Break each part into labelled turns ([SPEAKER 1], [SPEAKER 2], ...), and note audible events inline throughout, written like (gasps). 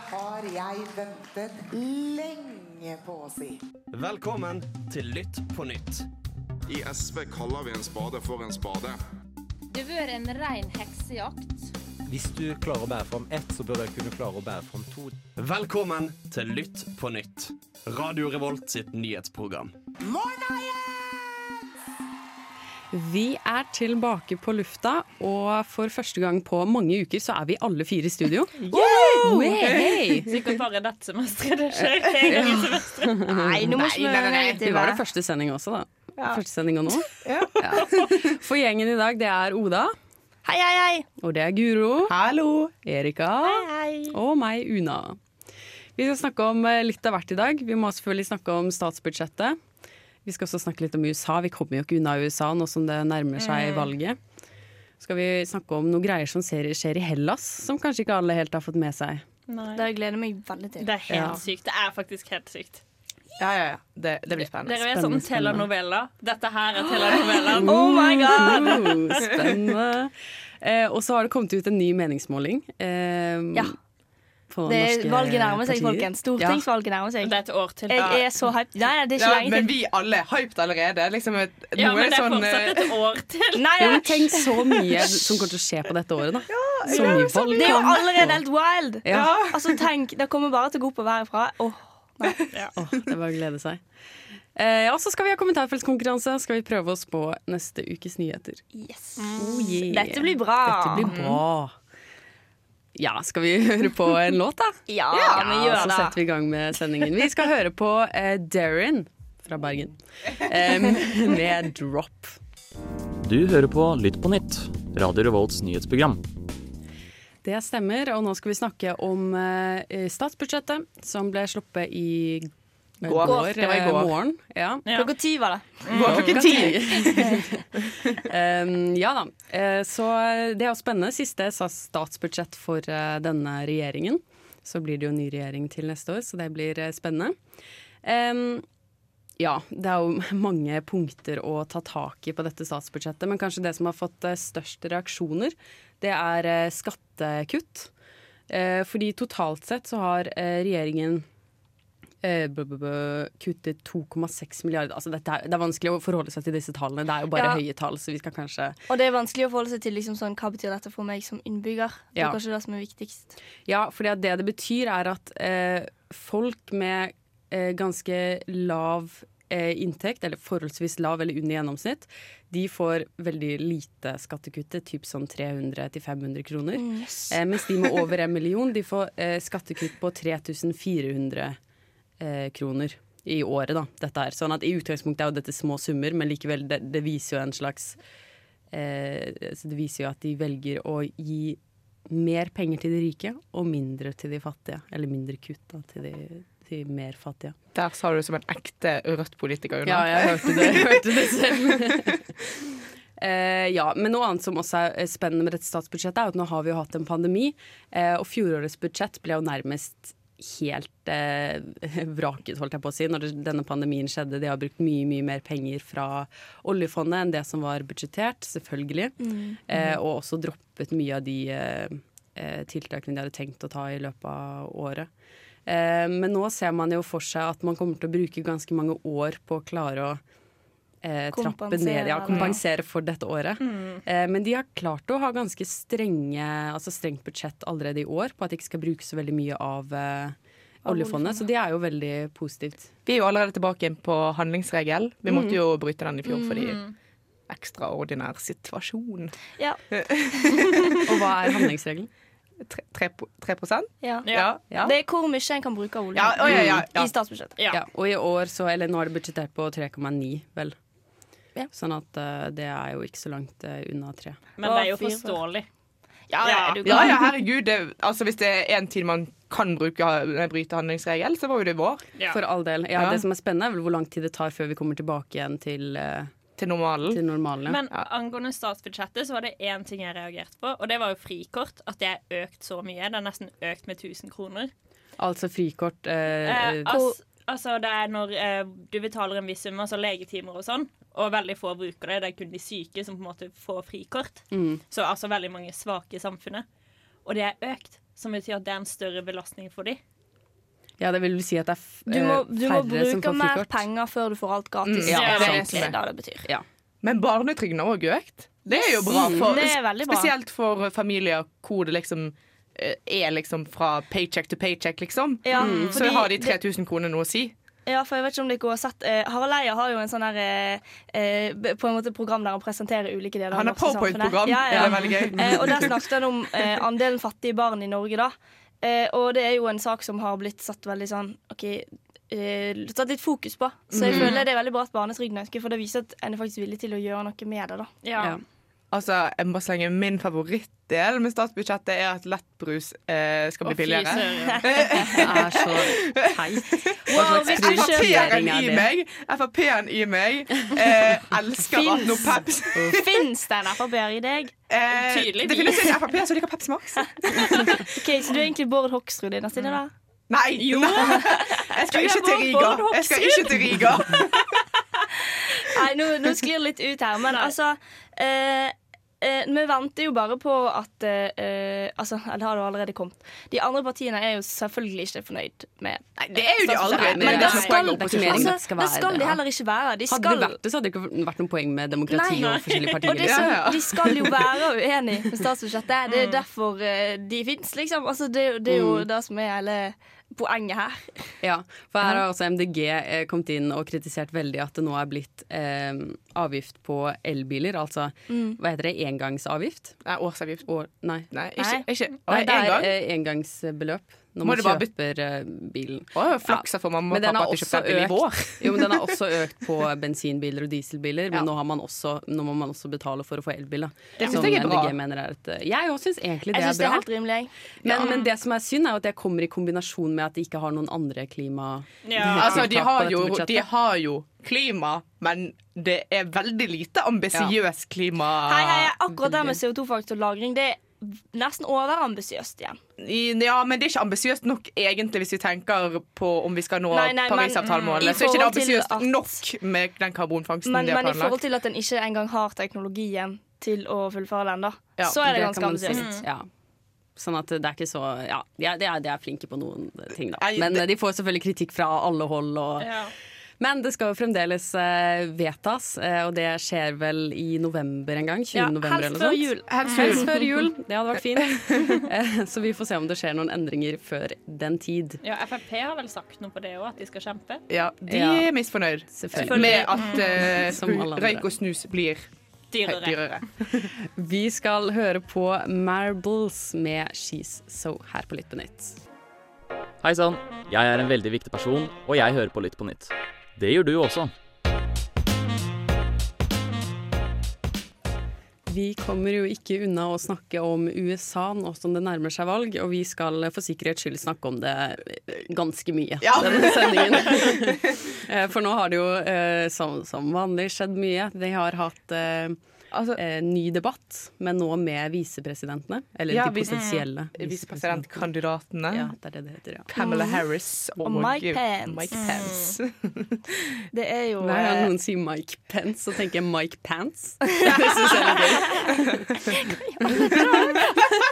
[SPEAKER 1] har jeg ventet lenge på å si.
[SPEAKER 2] Velkommen til Lytt på nytt.
[SPEAKER 3] I SV kaller vi en spade for en spade.
[SPEAKER 4] Det har vært en rein heksejakt.
[SPEAKER 5] Hvis du klarer å bære fram ett, så bør du kunne klare å bære fram to.
[SPEAKER 2] Velkommen til Lytt på nytt. Radio Revolt sitt nyhetsprogram.
[SPEAKER 6] Vi er tilbake på lufta, og for første gang på mange uker så er vi alle fire i studio. Woo! Hey!
[SPEAKER 7] Sikkert bare dette semesteret. Det skjer
[SPEAKER 8] (laughs)
[SPEAKER 7] ikke en gang i semesteret.
[SPEAKER 9] Nei, nå må ikke vi være
[SPEAKER 6] Det
[SPEAKER 9] negative.
[SPEAKER 6] var det første sending også, da. Første sending og nå.
[SPEAKER 9] (laughs)
[SPEAKER 6] Ja. For gjengen i dag, det er Oda,
[SPEAKER 9] Hei, hei, hei.
[SPEAKER 6] og det er Guro,
[SPEAKER 9] Hallo.
[SPEAKER 6] Erika
[SPEAKER 9] Hei.
[SPEAKER 6] og meg, Una. Vi skal snakke om eh, litt av hvert i dag. Vi må selvfølgelig snakke om statsbudsjettet. Vi skal også snakke litt om USA. Vi kommer jo ikke unna USA nå som det nærmer
[SPEAKER 9] Mm.
[SPEAKER 6] seg valget. Skal vi snakke om noen greier som ser, skjer i Hellas, som kanskje ikke alle helt har fått med
[SPEAKER 9] (laughs)
[SPEAKER 6] seg.
[SPEAKER 9] Det gleder jeg meg veldig til.
[SPEAKER 7] Det er helt
[SPEAKER 6] Ja.
[SPEAKER 7] sykt. Det er faktisk helt sykt.
[SPEAKER 8] Ja, ja, ja. Det, det blir spennende.
[SPEAKER 7] Dere er
[SPEAKER 6] Spennende,
[SPEAKER 7] sånn
[SPEAKER 6] spennende.
[SPEAKER 7] telenovella. Dette her er
[SPEAKER 8] (gasps)
[SPEAKER 7] telenovellaen.
[SPEAKER 9] Oh
[SPEAKER 6] Oh, spennende. Eh, og så har det kommet ut en ny meningsmåling. eh,
[SPEAKER 9] Ja.
[SPEAKER 6] på
[SPEAKER 9] Det
[SPEAKER 6] norske
[SPEAKER 9] er valget nærmer seg,
[SPEAKER 6] partier.
[SPEAKER 9] folkens. Stortingsvalget nærmer seg.
[SPEAKER 7] Det er et år til.
[SPEAKER 9] Jeg er så hyped. Nei, nei, det er
[SPEAKER 8] Ja,
[SPEAKER 9] ikke lenge
[SPEAKER 8] men
[SPEAKER 9] (laughs) til.
[SPEAKER 8] vi alle er hyped allerede. Liksom et,
[SPEAKER 7] Ja,
[SPEAKER 8] noe
[SPEAKER 7] men det er
[SPEAKER 8] sånn, eh,
[SPEAKER 7] fortsatt et år til.
[SPEAKER 9] Nei,
[SPEAKER 6] Ja,
[SPEAKER 9] nei.
[SPEAKER 6] men tenk så mye som kommer til å skje på dette året, da. så mye valg.
[SPEAKER 9] Det er jo allerede helt wild.
[SPEAKER 6] Ja.
[SPEAKER 9] Altså, tenk, Det kommer bare til å gå oppover herfra. Åh,
[SPEAKER 6] Åh, (laughs) det er bare å glede seg. Eh, og så skal vi ha kommentarfeltkonkurranse. Skal vi prøve oss på neste ukes nyheter.
[SPEAKER 9] yes.
[SPEAKER 6] Oh, yeah.
[SPEAKER 9] Dette blir bra.
[SPEAKER 6] Dette blir bra. Ja, skal vi (laughs) høre på en låt, da?
[SPEAKER 9] Ja, vi
[SPEAKER 6] så
[SPEAKER 9] gjør det.
[SPEAKER 6] setter vi i gang med sendingen. Vi skal høre på eh, Darren fra Bergen eh, (laughs) med 'Drop'.
[SPEAKER 10] Du hører på Lytt på nytt, Radio Revolts nyhetsprogram.
[SPEAKER 6] Det stemmer, og nå skal vi snakke om eh, statsbudsjettet som ble sluppet i
[SPEAKER 8] Går. Det var i
[SPEAKER 6] eh,
[SPEAKER 8] går.
[SPEAKER 6] morgen. Ja.
[SPEAKER 7] Ja.
[SPEAKER 9] Klokka ti var det.
[SPEAKER 6] Klokka (laughs) ti. um, ja da. Eh, så det er jo spennende. Siste sa- statsbudsjett for eh, denne regjeringen. Så blir det jo ny regjering til neste år, så det blir eh, spennende. Um, ja, det er jo (laughs) mange punkter å ta tak i på dette statsbudsjettet, men kanskje det som har fått eh, størst reaksjoner, det er eh, skattekutt. Eh, fordi totalt sett så har eh, regjeringen eh, b -b -b kuttet 2,6 milliarder. Altså, dette er, det er vanskelig å forholde seg til disse tallene. Det er jo bare
[SPEAKER 9] Ja.
[SPEAKER 6] høye tall, så vi skal kanskje
[SPEAKER 9] Og det er vanskelig å forholde seg til liksom, sånn, hva betyr dette for meg som innbygger. Det
[SPEAKER 6] Ja.
[SPEAKER 9] er kanskje det som er viktigst.
[SPEAKER 6] Ja, for det det betyr er at eh, folk med eh, ganske lav eh, inntekt, eller forholdsvis lav eller under gjennomsnitt, de får veldig lite skattekuttet, typ sånn 300-500 kroner. Eh, mens de med over en million, de får eh, skattekutt på 3400 eh, kroner i året. da, dette her. Sånn at i utgangspunktet er jo dette små summer, men likevel, det, det viser jo en slags eh, så Det viser jo at de velger å gi mer penger til de rike og mindre til de fattige. Eller mindre kutt da, til de til mer fattige.
[SPEAKER 8] Der sa du det som en ekte Rødt-politiker. Una.
[SPEAKER 6] Ja, jeg hørte det, jeg hørte det selv. Eh, ja, men Noe annet som også er eh, spennende med dette statsbudsjettet, er at nå har vi jo hatt en pandemi. eh, og fjorårets budsjett ble jo nærmest helt eh, (laughs) vraket, holdt jeg på å si, når det, denne pandemien skjedde. De har brukt mye mye mer penger fra oljefondet enn det som var budsjettert, selvfølgelig. Eh, og også droppet mye av de eh, eh, tiltakene de hadde tenkt å ta i løpet av året. Eh, men nå ser man jo for seg at man kommer til å bruke ganske mange år på å klare å eh, trappe
[SPEAKER 9] Kompensere,
[SPEAKER 6] ned, ja,
[SPEAKER 9] eller?
[SPEAKER 6] kompensere for dette året. Eh, men de har klart å ha ganske strenge, altså strengt budsjett allerede i år på at de ikke skal bruke så veldig mye av eh, oljefondet, så det er jo veldig positivt.
[SPEAKER 8] Vi er jo allerede tilbake igjen på handlingsregel. Vi måtte
[SPEAKER 9] Mm.
[SPEAKER 8] jo bryte den i fjor fordi
[SPEAKER 7] Mm.
[SPEAKER 8] ekstraordinær situasjon.
[SPEAKER 9] Ja.
[SPEAKER 6] Og hva er handlingsregelen?
[SPEAKER 8] Tre, tre, po- tre prosent?
[SPEAKER 9] Ja.
[SPEAKER 8] Ja.
[SPEAKER 6] Ja.
[SPEAKER 9] Det er hvor mye en kan bruke av olje
[SPEAKER 8] Ja, å, ja, ja, ja.
[SPEAKER 9] i statsbudsjettet.
[SPEAKER 7] Ja.
[SPEAKER 6] Ja, og i år så, eller nå er det budsjettert på 3,9, vel.
[SPEAKER 9] Ja.
[SPEAKER 6] Sånn at eh, det er jo ikke så langt eh, unna tre.
[SPEAKER 7] Men det er jo forståelig.
[SPEAKER 9] Ja, ja, er du
[SPEAKER 8] Ja,
[SPEAKER 9] gal?
[SPEAKER 8] ja, herregud. Det, altså, hvis det er en tid man kan bruke, bryte handlingsregel, så var jo det vår.
[SPEAKER 7] Ja.
[SPEAKER 6] For all del. Ja,
[SPEAKER 8] Ja.
[SPEAKER 6] Det som er spennende, er vel hvor lang tid det tar før vi kommer tilbake igjen til, eh,
[SPEAKER 8] Til normalen.
[SPEAKER 6] til normalen.
[SPEAKER 7] Men angående statsbudsjettet så var det én ting jeg reagerte på, og det var jo frikort. At det er økt så mye. Det er nesten økt med 1000 kroner.
[SPEAKER 6] altså frikort. eh,
[SPEAKER 7] Eh, altså, altså det er når eh, du betaler en viss sum, altså legetimer og sånn, og veldig få bruker det. Det er kun de syke som på en måte får frikort.
[SPEAKER 8] Mm.
[SPEAKER 7] Så altså veldig mange svake i samfunnet. Og det er økt, som betyr at det er en større belastning for dem.
[SPEAKER 6] Ja, det vil si at det er f
[SPEAKER 9] Du må,
[SPEAKER 6] eh,
[SPEAKER 9] du må
[SPEAKER 6] færre som
[SPEAKER 9] bruke
[SPEAKER 6] får
[SPEAKER 9] mer
[SPEAKER 6] frikort.
[SPEAKER 9] penger før du får alt gratis.
[SPEAKER 8] Mm, ja, det
[SPEAKER 9] det er
[SPEAKER 8] er
[SPEAKER 9] egentlig
[SPEAKER 8] egentlig
[SPEAKER 9] det det betyr.
[SPEAKER 6] Ja.
[SPEAKER 8] Men barnetrygden har òg økt. Det er jo bra. For,
[SPEAKER 9] Det er veldig bra.
[SPEAKER 8] Spesielt for familier hvor det liksom eh, er liksom fra paycheck to paycheck, liksom.
[SPEAKER 9] Ja,
[SPEAKER 8] Så
[SPEAKER 9] fordi
[SPEAKER 8] har de
[SPEAKER 9] det-
[SPEAKER 8] 3000 kroner noe å si.
[SPEAKER 9] Ja, for jeg vet ikke om dere har sett eh, Harald Eia har jo en sånn her eh, eh, b- På en måte program der han presenterer ulike deler
[SPEAKER 8] Han har
[SPEAKER 9] det norske
[SPEAKER 8] PowerPoint-program.
[SPEAKER 9] samfunnet. Ja, ja.
[SPEAKER 8] Det er veldig gøy.
[SPEAKER 9] Eh, og der snakket han om eh, andelen fattige barn i Norge, da. Eh, og det er jo en sak som har blitt satt veldig sånn OK eh, Satt litt fokus på. Så
[SPEAKER 8] Mm.
[SPEAKER 9] jeg føler det er veldig bra at barnetrygden øker, for det viser at en er faktisk villig til å gjøre noe med det, da.
[SPEAKER 6] Ja.
[SPEAKER 8] Altså, jeg må bare slenge inn min favorittdel med statsbudsjettet er at lettbrus eh, skal bli billigere. (laughs)
[SPEAKER 6] Det er så teit. Hva slags
[SPEAKER 9] hvis du ikke-
[SPEAKER 6] prioritering
[SPEAKER 8] Frp-en
[SPEAKER 6] er
[SPEAKER 8] i
[SPEAKER 6] det?
[SPEAKER 8] meg, Frp-en i meg eh, elsker at når Peps
[SPEAKER 9] Fins det en Frp-er i deg?
[SPEAKER 8] eh,
[SPEAKER 7] Tydeligvis.
[SPEAKER 8] Det finnes en Frp som liker Pepsi
[SPEAKER 6] (laughs)
[SPEAKER 8] Max.
[SPEAKER 9] OK, så du er egentlig Bård Hoksrud i neste da?
[SPEAKER 8] Nei! nei. (laughs) Jeg skal ikke til Riga. Jeg skal ikke til Riga.
[SPEAKER 9] Nei, nå, nå sklir det litt ut her, men altså eh, eh, Vi venter jo bare på at eh, eh, Altså, eller har det allerede kommet? De andre partiene er jo selvfølgelig ikke fornøyd med
[SPEAKER 8] Nei, det er jo de aldri.
[SPEAKER 9] Nei,
[SPEAKER 8] Det er det
[SPEAKER 9] men da
[SPEAKER 8] som er
[SPEAKER 9] skal-
[SPEAKER 8] poenget med
[SPEAKER 6] det er ikke
[SPEAKER 8] opposisjon.
[SPEAKER 6] mer enn
[SPEAKER 9] altså,
[SPEAKER 6] det skal
[SPEAKER 9] Da
[SPEAKER 6] være
[SPEAKER 9] skal
[SPEAKER 6] det,
[SPEAKER 9] de
[SPEAKER 6] ja.
[SPEAKER 9] heller ikke være. De
[SPEAKER 6] Hadde det
[SPEAKER 9] skal
[SPEAKER 6] vært det, så hadde det ikke vært noe poeng med demokrati
[SPEAKER 9] Nei.
[SPEAKER 6] og sånn forskjellige
[SPEAKER 9] og det
[SPEAKER 6] partier.
[SPEAKER 9] som,
[SPEAKER 8] Ja, ja. Mm.
[SPEAKER 9] De skal jo være
[SPEAKER 8] (laughs)
[SPEAKER 9] uenig med statsbudsjettet. Det er derfor eh, de fins, liksom. Altså, det, er jo- det er jo det som er hele poenget her.
[SPEAKER 6] Ja, for her har også MDG eh, kommet inn og kritisert veldig at det nå er blitt eh, avgift på elbiler. Altså, hva heter det, engangsavgift?
[SPEAKER 8] Mm. Nei, årsavgift.
[SPEAKER 6] År, nei.
[SPEAKER 8] Nei, ikke, ikke. Å,
[SPEAKER 6] nei, det
[SPEAKER 8] en
[SPEAKER 6] er
[SPEAKER 8] gang.
[SPEAKER 6] eh, engangsbeløp når
[SPEAKER 8] Må
[SPEAKER 6] man
[SPEAKER 8] det bare byt-
[SPEAKER 6] kjøper eh, bilen.
[SPEAKER 8] Å, flaks for mamma og
[SPEAKER 6] Men den
[SPEAKER 8] pappa
[SPEAKER 6] har
[SPEAKER 8] at de
[SPEAKER 6] også
[SPEAKER 8] kjøpte bil i vår.
[SPEAKER 6] økt. Jo, men den har også
[SPEAKER 8] (laughs)
[SPEAKER 6] økt på bensinbiler og dieselbiler, men
[SPEAKER 8] Ja.
[SPEAKER 6] nå, har man også, nå må man også betale for å få elbil. da.
[SPEAKER 8] Det synes
[SPEAKER 6] Som
[SPEAKER 8] jeg er bra.
[SPEAKER 6] MDG mener er et eh, Jeg òg syns egentlig det
[SPEAKER 9] Jeg
[SPEAKER 6] er
[SPEAKER 9] syns det
[SPEAKER 6] bra.
[SPEAKER 9] er helt rimelig. jeg.
[SPEAKER 6] men, men det som er synd, er jo at det kommer i kombinasjon med at de ikke har noen andre klima... (laughs)
[SPEAKER 7] Ja.
[SPEAKER 8] Altså, de
[SPEAKER 6] tiltak på
[SPEAKER 8] har,
[SPEAKER 6] dette
[SPEAKER 8] jo,
[SPEAKER 6] budsjettet.
[SPEAKER 8] de har jo klima, men det er veldig lite ambisiøs klima...
[SPEAKER 9] Hei, hei,
[SPEAKER 8] Ah,
[SPEAKER 9] akkurat det med CO2-fangst og -lagring, det er nesten overambisiøst igjen.
[SPEAKER 8] I- Ja, men det er ikke ambisiøst nok egentlig hvis vi tenker på om vi skal nå
[SPEAKER 9] Nei, nei, men-
[SPEAKER 8] Parisavtalemålene.
[SPEAKER 9] mm, i
[SPEAKER 8] Så er ikke det
[SPEAKER 9] forhold til
[SPEAKER 8] ambisiøst
[SPEAKER 9] at-
[SPEAKER 8] nok med den karbonfangsten
[SPEAKER 9] Men,
[SPEAKER 8] de har
[SPEAKER 9] men i forhold
[SPEAKER 8] planlagt.
[SPEAKER 9] til at en ikke engang har teknologien til å fullføre den, da,
[SPEAKER 8] Ja,
[SPEAKER 9] så er det, ganske
[SPEAKER 6] kan man si.
[SPEAKER 9] ambisiøst.
[SPEAKER 8] Mm.
[SPEAKER 6] Ja. Sånn at det er ikke så Ja, de er, de er, de er flinke på noen ting, da.
[SPEAKER 8] Nei,
[SPEAKER 6] Men
[SPEAKER 8] det-
[SPEAKER 6] eh, de får selvfølgelig kritikk fra alle hold. Og,
[SPEAKER 7] Ja.
[SPEAKER 6] Men det skal jo fremdeles eh, vedtas, eh, og det skjer vel i november en gang? 20.
[SPEAKER 9] Ja,
[SPEAKER 6] november
[SPEAKER 9] helst
[SPEAKER 6] eller
[SPEAKER 9] før
[SPEAKER 6] noe
[SPEAKER 9] jul.
[SPEAKER 6] sånt? Helst før jul. Det hadde vært fint. (laughs) Eh, Så vi får se om det skjer noen endringer før den tid.
[SPEAKER 7] ja, Frp har vel sagt noe på det òg, at de skal kjempe.
[SPEAKER 8] Ja, de
[SPEAKER 6] Ja.
[SPEAKER 8] er misfornøyd
[SPEAKER 6] Selvfølgelig.
[SPEAKER 8] med at eh,
[SPEAKER 6] Som alle andre.
[SPEAKER 8] røyk og snus blir
[SPEAKER 7] Dyrere.
[SPEAKER 8] dyrere.
[SPEAKER 6] Vi skal høre på Marbles med She's So her på Lytt på nytt.
[SPEAKER 10] Hei sann, jeg er en veldig viktig person, og jeg hører på Lytt på nytt. Det gjør du også.
[SPEAKER 6] Vi kommer jo ikke unna å snakke om USA nå som det nærmer seg valg, og vi skal for sikkerhets skyld snakke om det eh, ganske mye.
[SPEAKER 8] Ja.
[SPEAKER 6] denne sendingen. Eh, for nå har det jo eh, som, som vanlig skjedd mye. De har hatt eh,
[SPEAKER 8] Altså,
[SPEAKER 6] eh, ny debatt, men nå med visepresidentene. Eller
[SPEAKER 8] Ja,
[SPEAKER 6] de
[SPEAKER 8] vise-
[SPEAKER 6] potensielle visepresidentene.
[SPEAKER 8] Visepresidentkandidatene.
[SPEAKER 6] Ja, det er det det heter, ja.
[SPEAKER 8] Pamela Harris og,
[SPEAKER 9] Mm. Mike Pence.
[SPEAKER 8] Mike Pence.
[SPEAKER 9] (laughs) Det er jo eh,
[SPEAKER 6] Hver gang noen sier Mike Pence, så tenker jeg Mike Pants. Det synes jeg er litt gøy.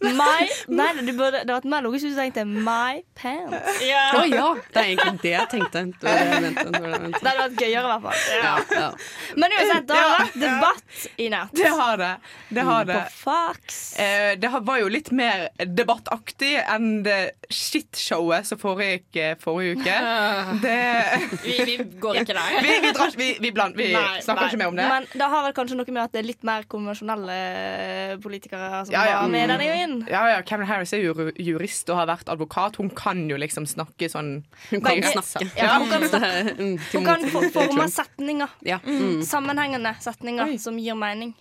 [SPEAKER 9] My, nei, du burde, det hadde vært mer logisk hvis du tenkte My pants.
[SPEAKER 8] (laughs)
[SPEAKER 6] Å ja! Det er egentlig det jeg tenkte. Det var det jeg mente, det var det jeg mente.
[SPEAKER 9] Det hadde vært gøyere, i hvert fall.
[SPEAKER 6] Ja, ja.
[SPEAKER 9] Men uansett, det har vært debatt i natt. Mm,
[SPEAKER 8] Det har det. Det har
[SPEAKER 9] På
[SPEAKER 8] det.
[SPEAKER 9] Fox.
[SPEAKER 8] Eh, det har- var jo litt mer debattaktig enn det shitshowet som foregikk eh, forrige uke. Det,
[SPEAKER 7] Vi, vi går ikke der.
[SPEAKER 8] vi, vi, drar, vi, vi, bland, (laughs) vi
[SPEAKER 7] Nei,
[SPEAKER 8] snakker
[SPEAKER 7] nei.
[SPEAKER 8] ikke mer om det.
[SPEAKER 9] Men det har vel kanskje noe med at det er litt mer konvensjonelle eh, politikere som
[SPEAKER 8] Ja, ja.
[SPEAKER 9] var med denne gangen.
[SPEAKER 8] ja, ja, Cameron Harris er jo ru- jurist og har vært advokat. Hun kan jo liksom snakke sånn
[SPEAKER 6] Hun kan
[SPEAKER 9] Begge-
[SPEAKER 6] snakke.
[SPEAKER 9] Ja, hun kan snakke.
[SPEAKER 6] Mm, til
[SPEAKER 9] Hun kan
[SPEAKER 6] motsetning
[SPEAKER 9] for-
[SPEAKER 6] til
[SPEAKER 9] forme
[SPEAKER 6] Trump.
[SPEAKER 9] setninger.
[SPEAKER 6] Ja. Mm.
[SPEAKER 9] Sammenhengende setninger som gir mening.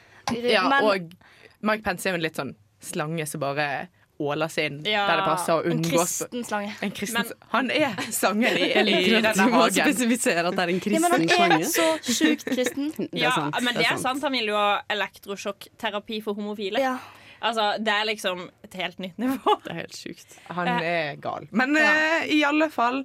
[SPEAKER 8] (laughs) ja,
[SPEAKER 9] Men-
[SPEAKER 8] Og Mike Pence er jo en litt sånn slange som bare åler seg inn
[SPEAKER 7] Ja,
[SPEAKER 8] der det passer og
[SPEAKER 9] En
[SPEAKER 8] unngås.
[SPEAKER 9] kristen slange.
[SPEAKER 8] En kristen Han er sanger i, i
[SPEAKER 6] (laughs) Liker at
[SPEAKER 8] denne
[SPEAKER 6] du må
[SPEAKER 8] hagen.
[SPEAKER 6] spesifisere at det er en
[SPEAKER 9] Ja, men
[SPEAKER 6] kristen
[SPEAKER 9] han er
[SPEAKER 6] slange.
[SPEAKER 9] så sjukt kristen.
[SPEAKER 8] (laughs)
[SPEAKER 6] Det
[SPEAKER 7] Ja,
[SPEAKER 6] er sant.
[SPEAKER 7] men det er sant. Han vil jo ha elektrosjokkterapi for homofile.
[SPEAKER 9] Ja.
[SPEAKER 7] Altså, det er liksom et helt nytt
[SPEAKER 9] (laughs)
[SPEAKER 7] nivå.
[SPEAKER 6] Det er helt sjukt.
[SPEAKER 8] Han er gal. Men eh, i alle fall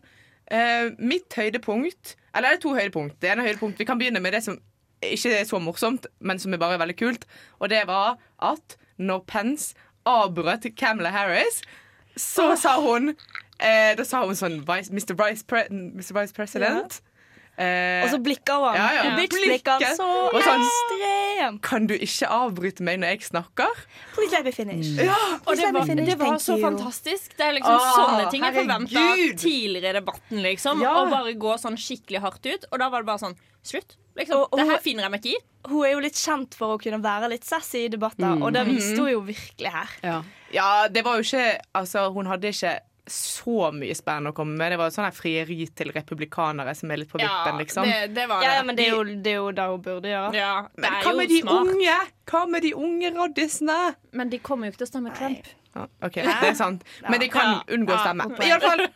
[SPEAKER 8] eh, Mitt høydepunkt Eller det er to høydepunkt. Det ene høydepunkt Vi kan begynne med det som ikke er så morsomt, men som er bare veldig kult. Og det var at når Pence avbrøt Camilla Harris Så sa hun eh, Da sa hun sånn Vice, Mr. Vice, Pre Mr. Vice President. Eh,
[SPEAKER 9] Og så blikka hun han.
[SPEAKER 8] Ja, ja.
[SPEAKER 9] Hun bitch-blikka han
[SPEAKER 8] Blikket.
[SPEAKER 9] så
[SPEAKER 8] Og sånn-
[SPEAKER 9] ekstremt.
[SPEAKER 8] kan du ikke avbryte meg når jeg snakker?
[SPEAKER 9] Please let me finish.
[SPEAKER 7] Og
[SPEAKER 9] Please
[SPEAKER 7] det
[SPEAKER 9] let me
[SPEAKER 7] var,
[SPEAKER 9] finish.
[SPEAKER 7] det var
[SPEAKER 9] Thank
[SPEAKER 7] så
[SPEAKER 9] you. Ah,
[SPEAKER 7] fantastisk. Det er liksom
[SPEAKER 8] Åh,
[SPEAKER 7] sånne ting jeg forventa
[SPEAKER 8] herregud.
[SPEAKER 7] tidligere i debatten, liksom.
[SPEAKER 8] Ja.
[SPEAKER 7] Og bare gå sånn skikkelig hardt ut. Og da var det bare sånn Slutt. Liksom,
[SPEAKER 9] Og- og-
[SPEAKER 7] det her finner jeg meg ikke i.
[SPEAKER 9] Hun er jo litt kjent for å kunne være litt sassy i debatter,
[SPEAKER 6] Mm.
[SPEAKER 9] og det viste hun jo virkelig her.
[SPEAKER 6] Ja.
[SPEAKER 8] Ja, det var jo ikke Altså, hun hadde ikke så mye spennende å komme med. Det var sånn her frieri til republikanere som er litt på vippen, liksom.
[SPEAKER 7] det, det var det.
[SPEAKER 9] Ja, ja, men det er, jo, det er jo det hun burde gjøre.
[SPEAKER 7] Ja, det
[SPEAKER 8] Men
[SPEAKER 7] er
[SPEAKER 8] hva
[SPEAKER 7] jo
[SPEAKER 8] med de
[SPEAKER 7] smart.
[SPEAKER 8] unge? Hva med de unge raddisene?
[SPEAKER 7] Men de kommer jo ikke til å stemme Trump.
[SPEAKER 8] Ja, OK, det er sant. Men de kan
[SPEAKER 7] Ja.
[SPEAKER 8] unngå å
[SPEAKER 7] Ja,
[SPEAKER 8] stemme.
[SPEAKER 7] godt
[SPEAKER 8] I alle fall,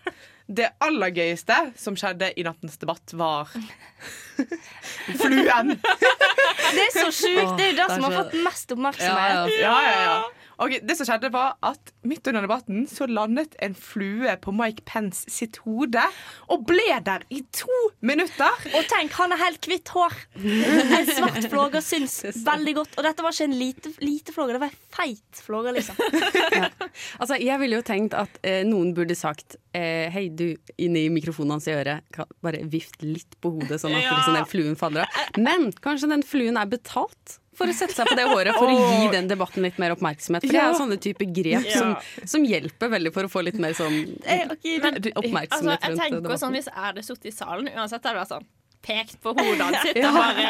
[SPEAKER 8] det aller gøyeste som skjedde i nattens debatt, var Fluen.
[SPEAKER 9] Det er så sjukt! Det er jo det
[SPEAKER 6] Åh,
[SPEAKER 9] som har
[SPEAKER 6] kanskje-
[SPEAKER 9] fått mest oppmerksomhet.
[SPEAKER 6] Ja, ja.
[SPEAKER 8] Ja, ja, ja. Ok, det som skjedde var at Midt under debatten så landet en flue på Mike Pence sitt hode og ble der i to minutter.
[SPEAKER 9] Og tenk, han er helt hvitt hår. En svart flåge syns veldig godt. Og dette var ikke en lite, lite flåge, det var en feit flåge, liksom.
[SPEAKER 6] Altså, jeg ville jo tenkt at eh, noen burde sagt eh, Hei, du, inni mikrofonen hans i øret, kan bare vift litt på hodet, sånn at
[SPEAKER 7] (laughs) Ja.
[SPEAKER 6] liksom, den fluen faller av. Men kanskje den fluen er betalt for å sette seg på det håret for å gi den debatten litt mer oppmerksomhet. For det er sånne type grep som, som hjelper veldig for å få litt mer sånn
[SPEAKER 9] Eh, ok, men-
[SPEAKER 7] Altså,
[SPEAKER 6] oppmerksomhet
[SPEAKER 7] jeg
[SPEAKER 6] rundt
[SPEAKER 7] tenker
[SPEAKER 6] debatten.
[SPEAKER 7] sånn, Hvis jeg hadde sittet i salen, uansett hadde det vært sånn pekt på hodet
[SPEAKER 6] (laughs)
[SPEAKER 7] hans sitt og bare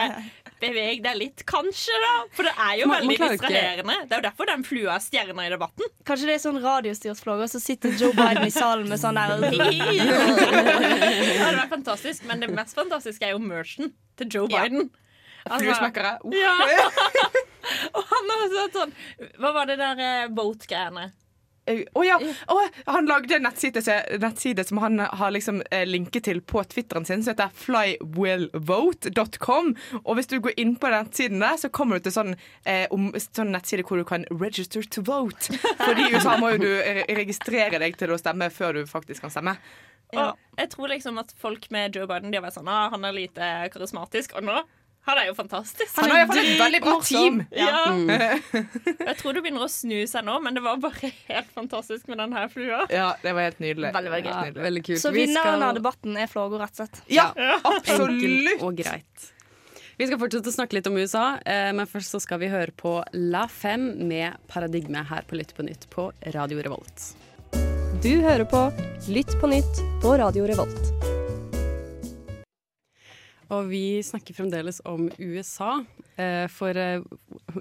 [SPEAKER 7] beveg deg litt, kanskje, da. For det er jo
[SPEAKER 6] Man- man klarer jo
[SPEAKER 7] veldig
[SPEAKER 6] ikke-
[SPEAKER 7] distraherende. Det er jo derfor den flua er stjerna i debatten.
[SPEAKER 9] Kanskje det er sånn radiostyrt flåge, og så sitter Joe Biden i salen med sånn der
[SPEAKER 7] (laughs) Det hadde vært fantastisk, men det mest fantastiske er jo merchen til Joe
[SPEAKER 9] Ja.
[SPEAKER 7] Biden. Altså,
[SPEAKER 8] Fluesmekkere. Uh.
[SPEAKER 7] ja.
[SPEAKER 6] (laughs)
[SPEAKER 7] og han har også hatt sånn Hva var det der eh, vote-greiene?
[SPEAKER 8] Au. Eh, Å ja. Å, han lagde en nettside, se- nettside som han har liksom eh, linket til på Twitteren sin, som heter flywillvote.com. Og hvis du går inn på den nettsiden der, så kommer du til sånn, eh, om, sånn nettside hvor du kan register to vote. Fordi i USA må jo du re- registrere deg til å stemme før du faktisk kan stemme.
[SPEAKER 9] Ja.
[SPEAKER 7] Og jeg tror liksom at folk med Joe Biden De har vært sånn ah, Han er lite karismatisk. Og nå han er jo fantastisk.
[SPEAKER 8] Han har iallfall et veldig bra team.
[SPEAKER 7] Ja.
[SPEAKER 8] (laughs)
[SPEAKER 9] Mm.
[SPEAKER 7] (laughs) Jeg tror det begynner å snu seg nå, men det var bare helt fantastisk med den her flua.
[SPEAKER 8] Ja, det var helt nydelig.
[SPEAKER 7] Veldig, veldig
[SPEAKER 6] Ja,
[SPEAKER 8] Helt nydelig.
[SPEAKER 6] veldig kult.
[SPEAKER 9] Så
[SPEAKER 6] Vi
[SPEAKER 9] vinneren
[SPEAKER 6] skal-
[SPEAKER 9] av debatten er flåga, rett og slett.
[SPEAKER 8] Ja,
[SPEAKER 6] Enkelt
[SPEAKER 8] absolutt.
[SPEAKER 6] og greit. Vi skal fortsette å snakke litt om USA, eh, men først så skal vi høre på La Fem med Paradigme her på Lytt på nytt på Radio Revolt.
[SPEAKER 11] Du hører på Lytt på nytt på Radio Revolt.
[SPEAKER 6] Og vi snakker fremdeles om USA, eh, for eh,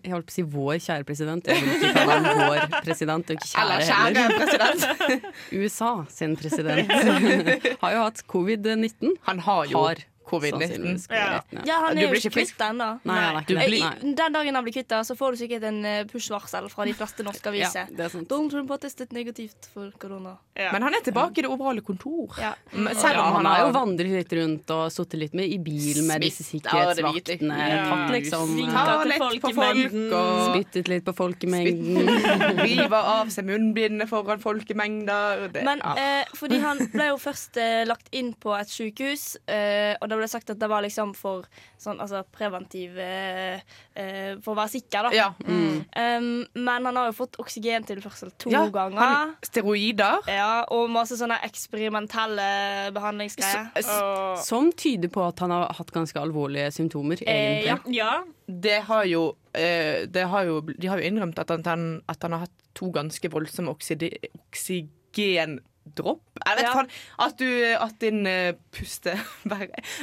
[SPEAKER 6] jeg holdt på å si vår kjære president. Jeg vil ikke kalle han vår president, og ikke kjære
[SPEAKER 8] Eller kjære
[SPEAKER 6] heller.
[SPEAKER 8] president.
[SPEAKER 6] USA sin
[SPEAKER 8] (laughs)
[SPEAKER 6] president har jo hatt covid-19.
[SPEAKER 8] Han har jo
[SPEAKER 6] Har
[SPEAKER 8] covid-19.
[SPEAKER 6] sannsynligvis covid-19.
[SPEAKER 9] Ja, han
[SPEAKER 8] Du
[SPEAKER 9] er jo
[SPEAKER 8] blir
[SPEAKER 9] ikke
[SPEAKER 8] ikke frisk.
[SPEAKER 9] kvitt ennå.
[SPEAKER 6] Nei, han er ikke
[SPEAKER 8] Du
[SPEAKER 6] det.
[SPEAKER 8] blir-
[SPEAKER 6] Nei.
[SPEAKER 9] Den dagen han blir kvitt, da, så får du sikkert en eh, push-varsel fra de fleste norske
[SPEAKER 6] Ja,
[SPEAKER 9] aviser.
[SPEAKER 6] det er sant.
[SPEAKER 9] Donald Trump har testet negativt for korona.
[SPEAKER 8] Men han er tilbake i det overholde kontor.
[SPEAKER 9] Ja.
[SPEAKER 8] Oh, Men
[SPEAKER 6] Ja,
[SPEAKER 8] Selv om han
[SPEAKER 6] han har jo
[SPEAKER 8] har
[SPEAKER 6] vandret litt rundt og sittet litt med i bil med disse
[SPEAKER 8] Smitt, ja, det vet jeg.
[SPEAKER 6] sikkerhetsvaktene. Tatt liksom
[SPEAKER 7] Svinga.
[SPEAKER 8] Ta
[SPEAKER 7] til
[SPEAKER 8] litt
[SPEAKER 7] folk
[SPEAKER 8] på
[SPEAKER 7] i
[SPEAKER 8] folk
[SPEAKER 7] mengden.
[SPEAKER 8] og
[SPEAKER 6] Spyttet litt på folkemengden.
[SPEAKER 8] river av seg munnbindene foran folkemengder. Det.
[SPEAKER 9] Men
[SPEAKER 8] ja.
[SPEAKER 9] eh, fordi han ble jo først eh, lagt inn på et sykehus, eh, og det ble sagt at det var liksom for sånn altså preventiv eh, eh, For å være sikker, da.
[SPEAKER 8] ja. mm.
[SPEAKER 9] Um, men han har jo fått oksygentilførsel to
[SPEAKER 8] Ja,
[SPEAKER 9] ganger.
[SPEAKER 8] han- Steroider.
[SPEAKER 9] Ja, og masse sånne eksperimentelle behandlingsgreier.
[SPEAKER 8] S-
[SPEAKER 6] Som tyder på at han har hatt ganske alvorlige symptomer,
[SPEAKER 9] Eh, ja.
[SPEAKER 6] egentlig.
[SPEAKER 7] Ja,
[SPEAKER 8] Det har jo, eh, det har jo, de har jo innrømt at han, han- at han har hatt to ganske voldsomme oksidi, oksygendropp. Jeg vet
[SPEAKER 9] Ja.
[SPEAKER 8] faen At, du, at din eh, puste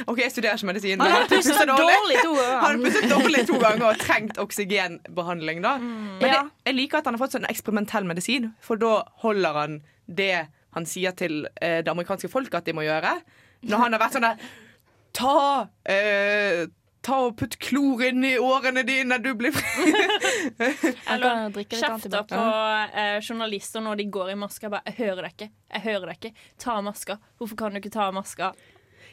[SPEAKER 8] OK, jeg studerer ikke medisin, men
[SPEAKER 9] Han har
[SPEAKER 8] at du puster
[SPEAKER 9] pustet
[SPEAKER 8] dårlig.
[SPEAKER 9] dårlig to
[SPEAKER 8] Han har
[SPEAKER 9] ganger.
[SPEAKER 8] pustet dårlig to ganger og trengt oksygenbehandling. da Men
[SPEAKER 9] Ja.
[SPEAKER 8] det, jeg liker at han har fått sånn eksperimentell medisin, for da holder han det han sier til eh, det amerikanske folket at de må gjøre. Når han har vært sånn der Ta eh, Ta og Putt klor inn i årene dine, du blir fri.
[SPEAKER 7] Eller
[SPEAKER 9] Han kan drikke litt
[SPEAKER 7] kjefter
[SPEAKER 9] antibac.
[SPEAKER 7] på eh, journalister når de går i masker. Jeg bare, jeg hører deg ikke. Jeg hører deg ikke. Ta av maska. Hvorfor kan du ikke ta av
[SPEAKER 6] Jo,
[SPEAKER 7] maska?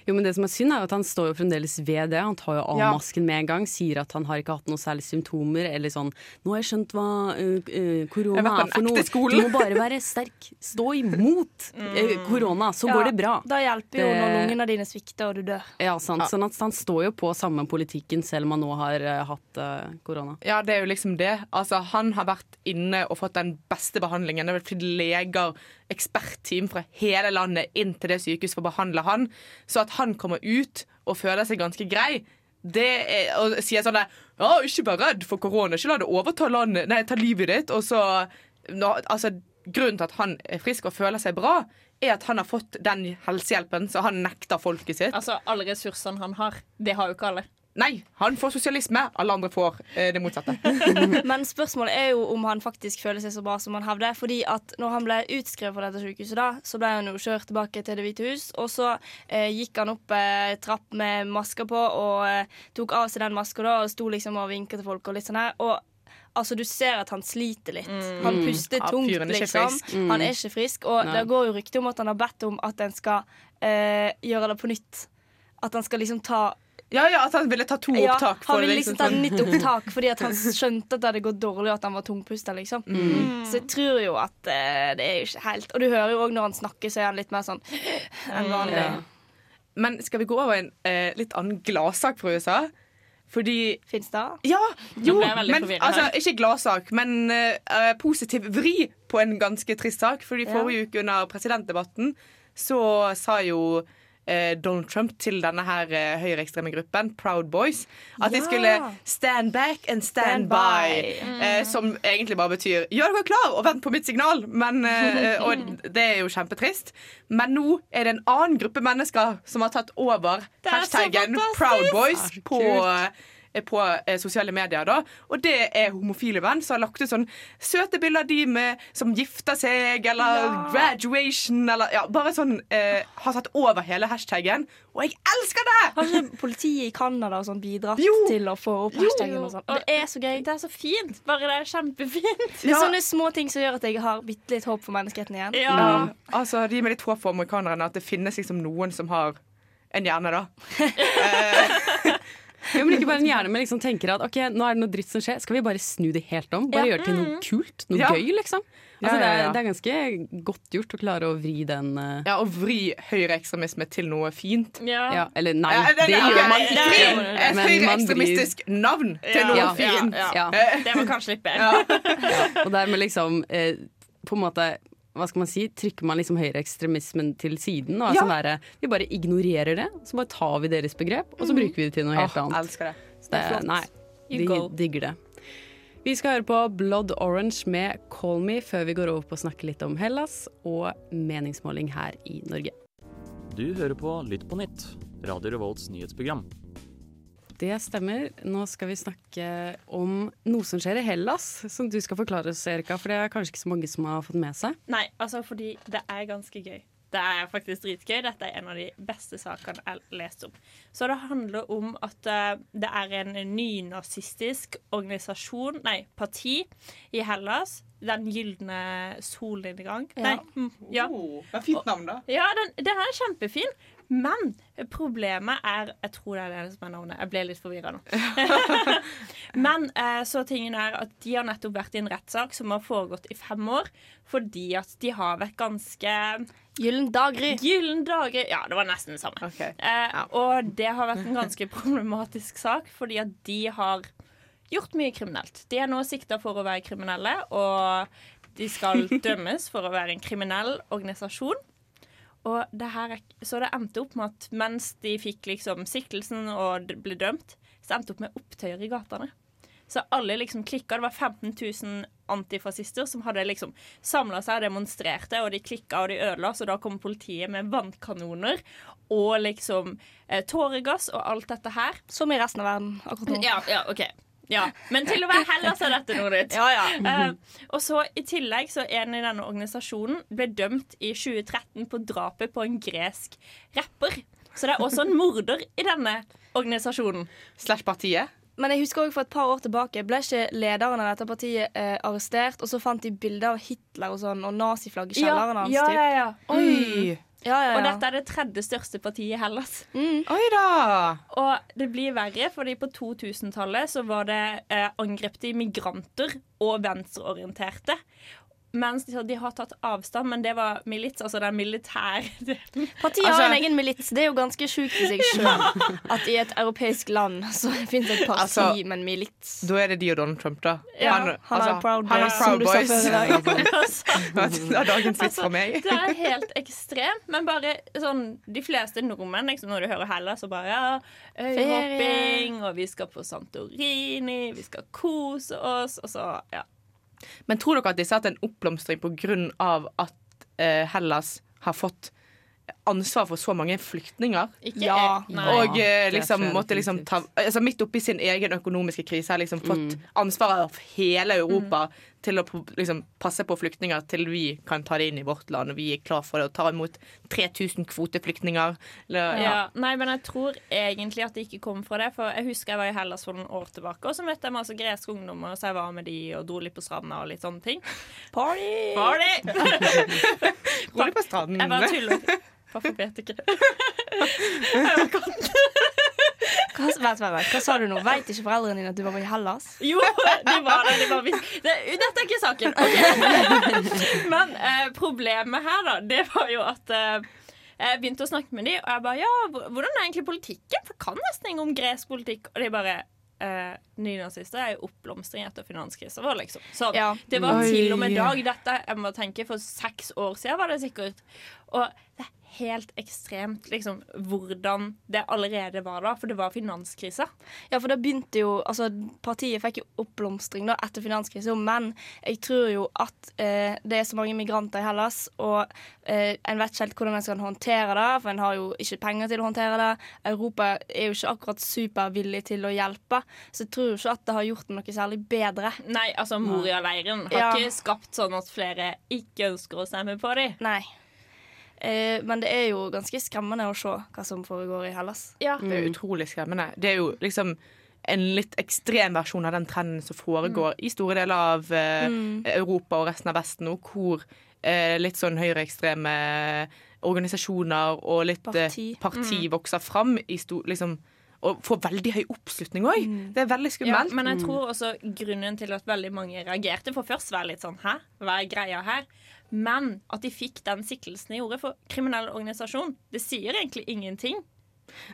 [SPEAKER 6] Jo, men det som er synd, er jo at han står jo fremdeles ved det. Han tar jo av
[SPEAKER 12] Ja.
[SPEAKER 6] masken med en gang, sier at han har ikke hatt noen særlige symptomer, eller sånn 'Nå har jeg skjønt hva ø, ø,
[SPEAKER 12] Jeg
[SPEAKER 6] korona
[SPEAKER 12] har vært på
[SPEAKER 6] er for
[SPEAKER 12] den ekte
[SPEAKER 6] noe. Du
[SPEAKER 12] skolen.»
[SPEAKER 6] må bare være sterk. Stå imot ø,
[SPEAKER 8] Mm.
[SPEAKER 6] korona, så går det bra.
[SPEAKER 9] Da hjelper jo når
[SPEAKER 6] Det-
[SPEAKER 9] lungene dine svikter og du dør.
[SPEAKER 6] Ja, sant. Sånn at han står jo på samme politikken selv om han nå har ø, hatt ø, korona.
[SPEAKER 8] Ja, det er jo liksom det. Altså, han har vært inne og fått den beste behandlingen. Det har vært leger, ekspertteam fra hele landet inn til det sykehuset for å behandle han. Så at han kommer ut og føler seg ganske grei, det er, og sier sånn der Ja, ikke vær redd for korona. Ikke la det overta landet. Nei, ta livet ditt. Og så nå, Altså, grunnen til at han er frisk og føler seg bra, er at han har fått den helsehjelpen, så han nekter folket sitt.
[SPEAKER 12] Altså, alle ressursene han har, det har jo ikke alle.
[SPEAKER 8] Nei, han får sosialisme. Alle andre får eh, det motsatte.
[SPEAKER 9] Men spørsmålet er jo om han faktisk føler seg så bra som han hevder. Fordi at når han ble utskrevet fra dette sykehuset, da, så ble han jo kjørt tilbake til Det hvite hus. Og så eh, gikk han opp eh, trapp med maska på og eh, tok av seg den maska da, og sto liksom og vinka til folk og litt sånn her. Og altså, du ser at han sliter litt. Han
[SPEAKER 12] Mm.
[SPEAKER 9] puster
[SPEAKER 12] Ja,
[SPEAKER 9] tungt,
[SPEAKER 12] fyren er ikke
[SPEAKER 9] liksom.
[SPEAKER 12] frisk. Mm.
[SPEAKER 9] Han er ikke frisk. Og
[SPEAKER 12] Nei.
[SPEAKER 9] det går jo rykter om at han har bedt om at en skal eh, gjøre det på nytt. At han skal liksom ta
[SPEAKER 8] Ja, ja, at han ville ta to opptak for
[SPEAKER 9] han ville
[SPEAKER 8] å liksom
[SPEAKER 9] liksom ta
[SPEAKER 8] sånn-
[SPEAKER 9] nytt opptak fordi
[SPEAKER 8] (laughs)
[SPEAKER 9] at han skjønte at det hadde gått dårlig, og at han var tungpusta, liksom.
[SPEAKER 8] Mm.
[SPEAKER 9] Så jeg tror jo at eh, det er jo ikke helt Og du hører jo òg når han snakker, så er han litt mer sånn enn vanlig.
[SPEAKER 8] Men skal vi gå over i en eh, litt annen gladsak fra USA? Fordi
[SPEAKER 9] Fins det?
[SPEAKER 8] Ja! Jo,
[SPEAKER 9] ble jeg veldig
[SPEAKER 8] men
[SPEAKER 9] forvirret
[SPEAKER 8] altså,
[SPEAKER 9] her.
[SPEAKER 8] ikke gladsak, men eh, positiv vri på en ganske trist sak. Fordi
[SPEAKER 9] Ja.
[SPEAKER 8] forrige uke under presidentdebatten så sa jo eh, Donald Trump til denne her eh, høyreekstreme gruppen, Proud Boys, at de
[SPEAKER 12] Ja.
[SPEAKER 8] skulle stand back and stand,
[SPEAKER 12] Stand
[SPEAKER 8] by.
[SPEAKER 12] by. Mm.
[SPEAKER 8] eh, som egentlig bare betyr gjør dere klar og vent på mitt signal. Men,
[SPEAKER 12] (laughs)
[SPEAKER 8] eh, og det er jo kjempetrist. Men nå er det en annen gruppe mennesker som har tatt over
[SPEAKER 12] Det er så
[SPEAKER 8] hashtaggen
[SPEAKER 12] fantastisk!
[SPEAKER 8] Proud Boys
[SPEAKER 12] Ja,
[SPEAKER 8] på
[SPEAKER 12] kult.
[SPEAKER 8] eh, på eh, sosiale medier, da. Og det er homofile menn som har lagt ut sånn søte bilder av de med, som gifter seg, eller graduation, eller ja, Bare sånn eh, Har tatt over hele hashtagen. Og jeg elsker det!
[SPEAKER 9] Har ikke politiet i Canada og sånn bidratt til å få opp hashtaggen og sånn? Det er så gøy.
[SPEAKER 7] Det er så fint. Bare det er kjempefint.
[SPEAKER 9] det er sånne små ting som gjør at jeg har bitte litt håp for menneskeheten igjen.
[SPEAKER 8] Mm. Altså, det gir meg litt håp for amerikanerne at det finnes liksom noen som har en hjerne, da.
[SPEAKER 6] Jo, men ikke bare en hjerne, men liksom tenker at ok, nå er det noe dritt som skjer, skal vi bare snu det helt om? Bare
[SPEAKER 12] Ja.
[SPEAKER 6] gjøre det til noe
[SPEAKER 12] Mm.
[SPEAKER 6] kult, noe
[SPEAKER 12] Ja.
[SPEAKER 6] gøy, liksom.
[SPEAKER 8] Ja,
[SPEAKER 6] Altså, det,
[SPEAKER 8] ja,
[SPEAKER 6] er,
[SPEAKER 8] ja.
[SPEAKER 6] det er ganske godt gjort å klare å vri den eh,
[SPEAKER 8] Ja, Å vri høyreekstremisme til noe fint.
[SPEAKER 6] ja, Eller nei,
[SPEAKER 8] Ja,
[SPEAKER 6] det, gjør
[SPEAKER 8] ok.
[SPEAKER 6] man ikke.
[SPEAKER 8] Vri
[SPEAKER 6] men
[SPEAKER 8] Et
[SPEAKER 6] man
[SPEAKER 8] høyreekstremistisk navn til noe
[SPEAKER 6] Ja.
[SPEAKER 8] fint.
[SPEAKER 6] Ja, ja.
[SPEAKER 7] Det var kanskje litt bedre.
[SPEAKER 6] vrir- (laughs) Og dermed liksom eh, på en måte hva skal man si, Trykker man liksom høyreekstremismen til siden? Og er
[SPEAKER 12] Ja.
[SPEAKER 6] sånn derre, vi bare ignorerer det, så bare tar vi deres begrep, og så bruker vi det til noe helt
[SPEAKER 8] Mhm. Åh,
[SPEAKER 6] annet.
[SPEAKER 8] elsker det.
[SPEAKER 6] Så det,
[SPEAKER 8] Det er flott.
[SPEAKER 6] nei,
[SPEAKER 8] You
[SPEAKER 6] de
[SPEAKER 8] go.
[SPEAKER 6] digger det. Vi skal høre på Blood Orange med Call Me før vi går over på å snakke litt om Hellas og meningsmåling her i Norge.
[SPEAKER 10] Du hører på Lytt på nytt, Radio Revolts nyhetsprogram.
[SPEAKER 6] Det stemmer. Nå skal vi snakke om noe som skjer i Hellas, som du skal forklare oss, Erika, for det er kanskje ikke så mange som har fått med seg.
[SPEAKER 7] Nei, altså fordi det er ganske gøy. Det er faktisk dritgøy. Dette er en av de beste sakene jeg har lest om. Så det handler om at eh, det er en nynazistisk organisasjon, nei, parti, i Hellas. Den gylne solnedgang.
[SPEAKER 8] Ja.
[SPEAKER 7] Nei, mm, ja.
[SPEAKER 8] det er fint navn, da.
[SPEAKER 7] Ja, den, den er kjempefin. Men problemet er Jeg tror det er det som er navnet. Jeg ble litt forvirra nå. Men eh, så tingen er at de har nettopp vært i en rettssak som har foregått i fem år, fordi at de har vært ganske
[SPEAKER 9] Gyllen daggry.
[SPEAKER 7] Gyllen daggry. Ja, det var nesten det samme. Eh, og det har vært en ganske (laughs) problematisk sak, fordi at de har gjort mye kriminelt. De er nå sikta for å være kriminelle, og de skal dømmes for å være en kriminell organisasjon. Og det her, er- så det endte opp med at mens de fikk liksom siktelsen og d- ble dømt, så endte det opp med opptøyer i gatene. Så alle liksom klikka. Det var 15 000 antifascister som hadde liksom samla seg og demonstrerte, og de klikka og de ødela, så da kom politiet med vannkanoner og liksom eh, tåregass og alt dette her.
[SPEAKER 9] Som i resten av verden akkurat nå.
[SPEAKER 7] Ja, ja, ok. Ja, Men til å være Hellas er dette noe nytt.
[SPEAKER 9] Ja, ja.
[SPEAKER 7] Eh, og så I tillegg så en i denne organisasjonen ble dømt i 2013 på drapet på en gresk rapper. Så det er også en morder i denne organisasjonen.
[SPEAKER 8] Slash partiet.
[SPEAKER 9] Men jeg husker også for et par år tilbake ble ikke lederen av dette partiet eh, arrestert, og så fant de bilder av Hitler og sånn, og naziflagg i kjelleren hans.
[SPEAKER 7] ja, Mm. ja, Mm.
[SPEAKER 9] typ.
[SPEAKER 7] ja.
[SPEAKER 9] Oi. ja, ja.
[SPEAKER 7] Og dette er det tredje største partiet i Hellas.
[SPEAKER 8] Oi da!
[SPEAKER 7] Og det blir verre, fordi på 2000-tallet så var det eh, angrep til migranter og venstreorienterte. Mens de, de har tatt avstand, men det var milits, altså den (laughs) militære
[SPEAKER 9] Partiet har
[SPEAKER 8] Altså-
[SPEAKER 9] en egen milits. Det er jo ganske sjukt i seg
[SPEAKER 8] (laughs)
[SPEAKER 9] sjøl. At i et europeisk land så fins et parti
[SPEAKER 8] Altså-
[SPEAKER 9] med en milits.
[SPEAKER 8] Da er det de og Donald Trump, da.
[SPEAKER 9] Ja, han er Proud
[SPEAKER 8] han er
[SPEAKER 9] Boys,
[SPEAKER 8] Proud
[SPEAKER 9] som du sa
[SPEAKER 8] Boys. (laughs)
[SPEAKER 9] før i
[SPEAKER 7] (laughs) Altså,
[SPEAKER 8] Det var dagens vits fra meg.
[SPEAKER 7] Det
[SPEAKER 8] (laughs)
[SPEAKER 7] er helt ekstremt, men bare sånn De fleste nordmenn, liksom, når du hører Hellas, så bare ja, Øyhopping, og vi skal på Santorini, vi skal kose oss, og så ja.
[SPEAKER 8] Men tror dere at de har hatt en oppblomstring pga. at eh, Hellas har fått ansvar for så mange flyktninger?
[SPEAKER 7] Ikke Ja. jeg, nei.
[SPEAKER 8] Og eh,
[SPEAKER 7] Det
[SPEAKER 8] liksom,
[SPEAKER 7] tror jeg
[SPEAKER 8] måtte liksom ta altså, Midt oppi sin egen økonomiske krise har liksom fått ansvaret av hele Europa
[SPEAKER 7] Mm.
[SPEAKER 8] til å pro- liksom, passe på flyktninger til vi kan ta det inn i vårt land, og vi er klar for det og tar imot 3000 kvoteflyktninger. Eller,
[SPEAKER 7] Ja. Nei, men jeg tror egentlig at det ikke kom fra det. For jeg husker jeg var i Hellas for noen år tilbake, og så møtte jeg masse greske ungdommer, så jeg var med de og dro litt på stranda og litt sånne ting. Party!
[SPEAKER 8] (laughs) Rolig på stranden.
[SPEAKER 7] Jeg bare tuller. Pappa vet ikke.
[SPEAKER 9] Hva, vent, vent, vent. Hva sa du nå? Veit ikke foreldrene dine at du var i Hellas?
[SPEAKER 7] Jo, de var der. De var vis- det, dette er ikke saken. Ok. Men eh, problemet her, da, det var jo at eh, jeg begynte å snakke med de, og jeg bare Ja, hvor- hvordan er egentlig politikken? For jeg kan nesten ingenting om gresk politikk. Og de bare eh, Nynazister er jo oppblomstring etter finanskrisa vår, liksom. Så
[SPEAKER 9] Ja.
[SPEAKER 7] det var
[SPEAKER 9] Oi.
[SPEAKER 7] til og med dag dette jeg må tenke, for seks år siden var det sikkert. Og det er helt ekstremt liksom, hvordan det allerede var da, for det var finanskrisa.
[SPEAKER 9] Ja, for da begynte jo altså, Partiet fikk jo oppblomstring da, etter finanskrisen, men jeg tror jo at eh, det er så mange migranter i Hellas, og eh, en vet ikke helt hvordan en skal håndtere det, for en har jo ikke penger til å håndtere det. Europa er jo ikke akkurat supervillig til å hjelpe, så jeg tror jo ikke at det har gjort noe særlig bedre.
[SPEAKER 7] Nei, altså Moria-leiren har
[SPEAKER 9] Ja.
[SPEAKER 7] ikke skapt sånn at flere ikke ønsker å stemme på dem.
[SPEAKER 9] Nei. Eh, men det er jo ganske skremmende å se hva som foregår i Hellas.
[SPEAKER 8] Det er utrolig skremmende. Det er jo liksom en litt ekstrem versjon av den trenden som foregår i store deler av eh,
[SPEAKER 9] Mm.
[SPEAKER 8] Europa og resten av Vesten nå, hvor eh, litt sånn høyreekstreme eh, organisasjoner og litt eh,
[SPEAKER 9] Parti.
[SPEAKER 8] parti
[SPEAKER 9] Mm.
[SPEAKER 8] vokser fram i sto, liksom, og får veldig høy oppslutning òg.
[SPEAKER 9] Mm.
[SPEAKER 8] Det er veldig
[SPEAKER 7] Ja,
[SPEAKER 8] skummelt.
[SPEAKER 7] men Mm. jeg tror også grunnen til at veldig mange reagerte For først var det litt sånn Hæ, hva er greia her? Men at de fikk den siktelsen de gjorde for kriminell organisasjon, det sier egentlig ingenting.